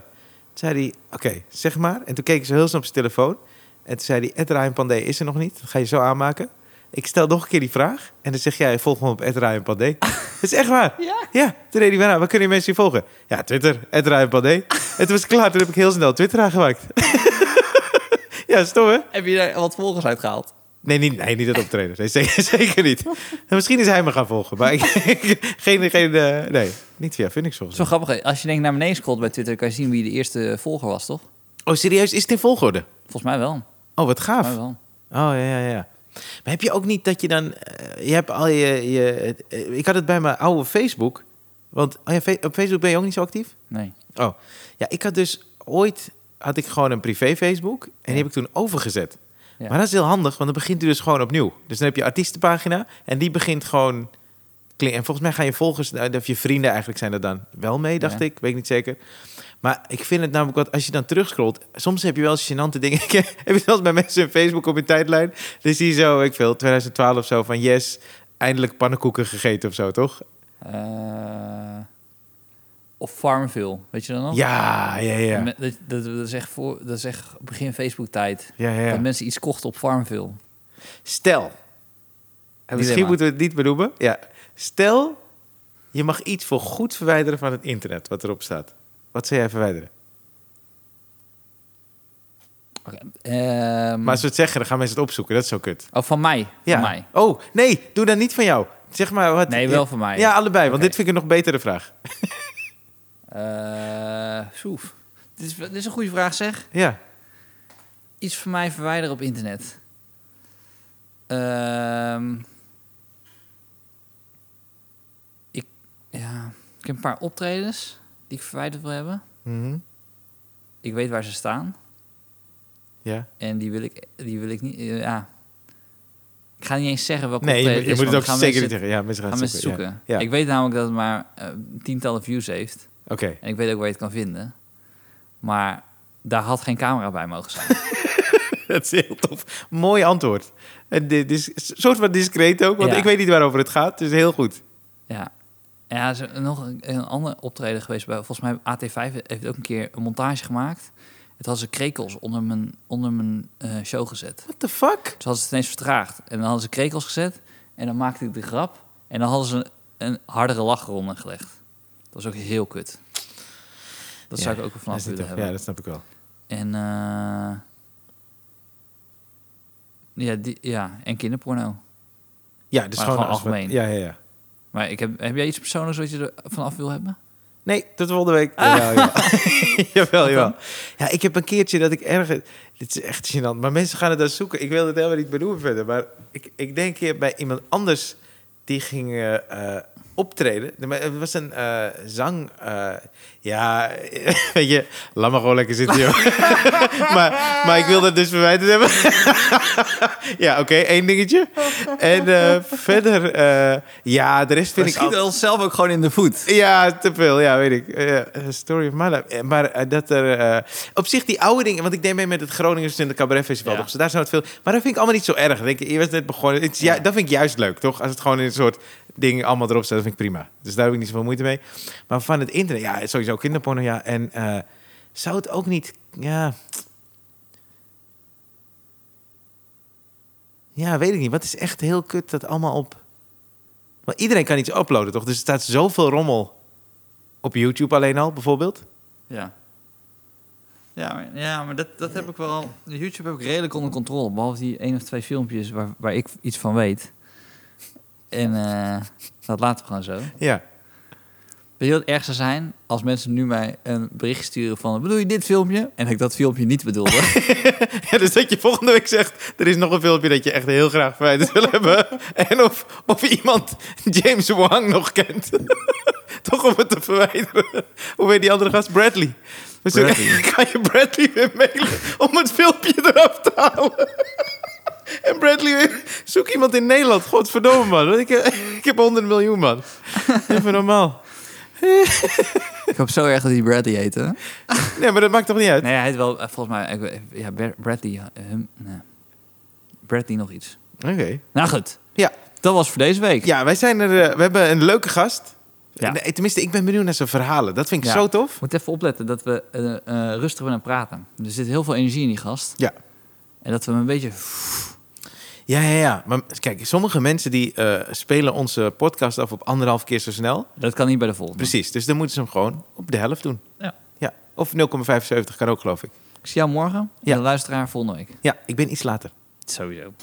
S1: Toen zei hij, oké, zeg maar. En toen keek ze heel snel op zijn telefoon. En toen zei hij, Ed Ryan Pandé is er nog niet. Dat ga je zo aanmaken. Ik stel nog een keer die vraag. En dan zeg jij, volg me op Ed Ryan Pandé. dat is echt waar.
S2: Ja?
S1: Ja, toen deed hij weer aan. Waar kunnen die mensen je volgen? Ja, Twitter, Ed Ryan Pandé. Het was klaar. Toen heb ik heel snel Twitter aangemaakt. ja, stom hè?
S2: Heb je daar wat volgers uit gehaald?
S1: Nee, niet, nee, niet dat optreden. Nee, zeker, zeker niet. En misschien is hij me gaan volgen. Maar ik, geen, geen, eh, nee, niet via Phoenix volgens
S2: Zo
S1: mij.
S2: grappig. hè? Als je denk ik naar beneden scrolt bij Twitter, kan je zien wie de eerste volger was, toch?
S1: Oh, serieus? Is het in volgorde?
S2: Volgens mij wel.
S1: Oh, wat
S2: Volgens
S1: gaaf.
S2: mij wel.
S1: Oh ja, ja, ja. Maar heb je ook niet dat je dan. eh, je hebt al je. je eh, ik had het bij mijn oude Facebook. Want oh ja, fe- op Facebook ben je ook niet zo actief?
S2: Nee.
S1: Oh ja, ik had dus ooit. Had ik gewoon een privé Facebook. En die
S2: Ja.
S1: heb ik toen overgezet.
S2: Ja.
S1: Maar dat is heel handig, want dan begint hij dus gewoon opnieuw. Dus dan heb je artiestenpagina. En die begint gewoon. klink- En volgens mij gaan je volgers. eh, Of je vrienden eigenlijk zijn er dan wel mee, dacht
S2: Ja.
S1: ik. Weet ik niet zeker. Maar ik vind het namelijk wat, als je dan terugscrollt, soms heb je wel eens gênante dingen. Ik heb heb je zelfs bij mensen op Facebook op je tijdlijn. Dan zie je zo, ik veel, 2012 of zo van yes, eindelijk pannenkoeken gegeten of zo, toch?
S2: Eh, of Farmville, weet je dat nog?
S1: Ja, ja, ja.
S2: Oh. Me- Dat, dat, dat is echt voor, dat is echt begin Facebook-tijd.
S1: ja, ja,
S2: Dat
S1: ja.
S2: mensen iets kochten op Farmville.
S1: Stel, en misschien
S2: Dilemma.
S1: moeten we het niet benoemen. Ja. Stel, je mag iets voor goed verwijderen van het internet, wat erop staat. Wat zou jij verwijderen?
S2: Hmm. Ehm,
S1: Maar als we het zeggen, dan gaan mensen het opzoeken. Dat is zo kut.
S2: oh, van mij.
S1: Ja.
S2: Van mij.
S1: Oh, nee, doe dan niet van jou. Zeg maar wat.
S2: Nee, wel van mij.
S1: Ja, allebei, want
S2: Oké.
S1: dit vind ik een nog betere vraag.
S2: Eh, soef. Dit is, dit is een goede vraag, zeg.
S1: Ja.
S2: Iets van mij verwijderen op internet. Ehm, ik, ja, ik heb een paar optredens die ik verwijderd wil hebben.
S1: Mhm.
S2: Ik weet waar ze staan.
S1: Ja.
S2: En die wil ik, die wil ik niet. eh, ja. Ik ga niet eens zeggen welke
S1: Nee, je,
S2: optreden
S1: moet- je moet
S2: is,
S1: het ook
S2: want
S1: zeker
S2: dan
S1: niet zeggen. Ja, mensen gaan,
S2: gaan
S1: het
S2: mensen
S1: zoeken.
S2: zoeken.
S1: ja. Ja.
S2: Ik weet namelijk dat het maar eh, tientallen views heeft.
S1: ja. Oké.
S2: En ik weet ook waar je het kan vinden. Maar daar had geen camera bij mogen zijn.
S1: Dat is heel tof. Mooi antwoord. En dit is een soort van discreet ook, want
S2: Ja.
S1: ik weet niet waarover het gaat. Dus heel goed.
S2: ja. Ja, er is nog een, een ander optreden geweest. Bij, volgens mij AT5 heeft ook een keer een montage gemaakt. Het had ze krekels onder mijn, onder mijn eh, show gezet.
S1: What the fuck?
S2: Dus hadden ze het ineens vertraagd. En dan hadden ze krekels gezet. En dan maakte ik de grap. En dan hadden ze een, een hardere lach eronder gelegd. Dat was ook heel kut. Dat zou
S1: Ja,
S2: ik ook wel
S1: Dat
S2: vanaf
S1: is niet
S2: willen
S1: tof.
S2: hebben.
S1: ja, dat snap ik wel.
S2: En, eh, ja, die, ja, en kinderporno.
S1: Ja, dus
S2: Maar
S1: gewoon
S2: gewoon
S1: als we-
S2: algemeen.
S1: Ja, ja, ja.
S2: Maar ik heb, heb jij iets persoonlijks wat je er vanaf wil hebben?
S1: Nee, tot volgende week.
S2: Ah.
S1: Jawel, jawel. jawel, jawel. Ja, ik heb een keertje dat ik ergens... Dit is echt gênant, maar mensen gaan het dan zoeken. Ik wil het helemaal niet benoemen verder. Maar ik, ik denk hier bij iemand anders... die ging eh, eh, optreden. Er wa- Er was een eh, zang. eh, ja, weet je, laat maar gewoon lekker zitten, joh. maar, maar ik wil dat dus verwijderd hebben. ja, oké, één dingetje. En eh, verder, eh, ja, de rest vind
S2: We
S1: ik al-
S2: schieten onszelf ook gewoon in de voet.
S1: ja, te veel. Ja, weet ik. Eh, story of my life. Eh, Maar eh, dat er... eh, op zich die oude dingen... Want ik deed mee met het Groningen Studenten Cabaret Festival.
S2: Ja.
S1: Toch? Dus daar zou het veel... Maar dat vind ik allemaal niet zo erg. Denk, ik, je was net begonnen. Het is ju- Dat vind ik juist leuk, toch? Als het gewoon in een soort ding allemaal erop staat. Dat vind ik prima. Dus daar heb ik niet zoveel moeite mee. Maar van het internet... Ja, sowieso kinderporno, ja. En eh, zou het ook niet... Ja... Ja, weet ik niet. Wat is echt heel kut dat allemaal op... Want iedereen kan iets uploaden, toch? Dus er staat zoveel rommel op YouTube alleen al, bijvoorbeeld.
S2: Ja. Ja, maar, ja, maar dat, dat heb ik wel... YouTube heb ik redelijk onder controle. Behalve die één of twee filmpjes waar, waar ik iets van weet. En eh, dat laten we gewoon zo.
S1: Ja.
S2: Weet je wat het ergste zou zijn? Als mensen nu mij een bericht sturen van... Bedoel je dit filmpje? En ik dat filmpje niet bedoelde.
S1: ja. Dus dat je volgende week zegt, er is nog een filmpje dat je echt heel graag verwijderd wil hebben. En of, of iemand James Wang nog kent. toch om het te verwijderen. Hoe heet die andere gast? Bradley. Dus dan
S2: Bradley.
S1: kan je Bradley weer mailen om het filmpje eraf te halen. En Bradley, weer, zoek iemand in Nederland. Godverdomme, man. Want Ik, heb- ik heb 100 miljoen, man. Even normaal.
S2: ik hoop zo erg dat hij Bradley heet, hè?
S1: Nee, maar dat maakt toch niet uit?
S2: Nee, hij heet wel... eh, Volgens mij... ik weet- Ja, Ber- Bradley... eh, hum, nee. Bradley nog iets.
S1: Oké.
S2: Nou goed.
S1: Ja.
S2: Dat was voor deze week.
S1: Ja, wij zijn er. eh, we hebben een leuke gast.
S2: Ja.
S1: Nee, tenminste, ik ben benieuwd naar zijn verhalen. Dat vind ik
S2: Ja.
S1: zo tof.
S2: moet even opletten dat we eh, eh, rustig willen praten. Er zit heel veel energie in die gast.
S1: Ja.
S2: En dat we hem een beetje...
S1: Ja, ja, ja. Maar kijk, sommige mensen die eh, spelen onze podcast af op anderhalf keer zo snel.
S2: Dat kan niet bij de volgende.
S1: Precies. Dus dan moeten ze hem gewoon op de helft doen.
S2: Ja.
S1: ja. Of 0,75 kan ook, geloof ik.
S2: Ik zie jou morgen. Ja.
S1: Ja.
S2: En de luisteraar volgende week.
S1: Ja, ik ben iets later.
S2: Sowieso.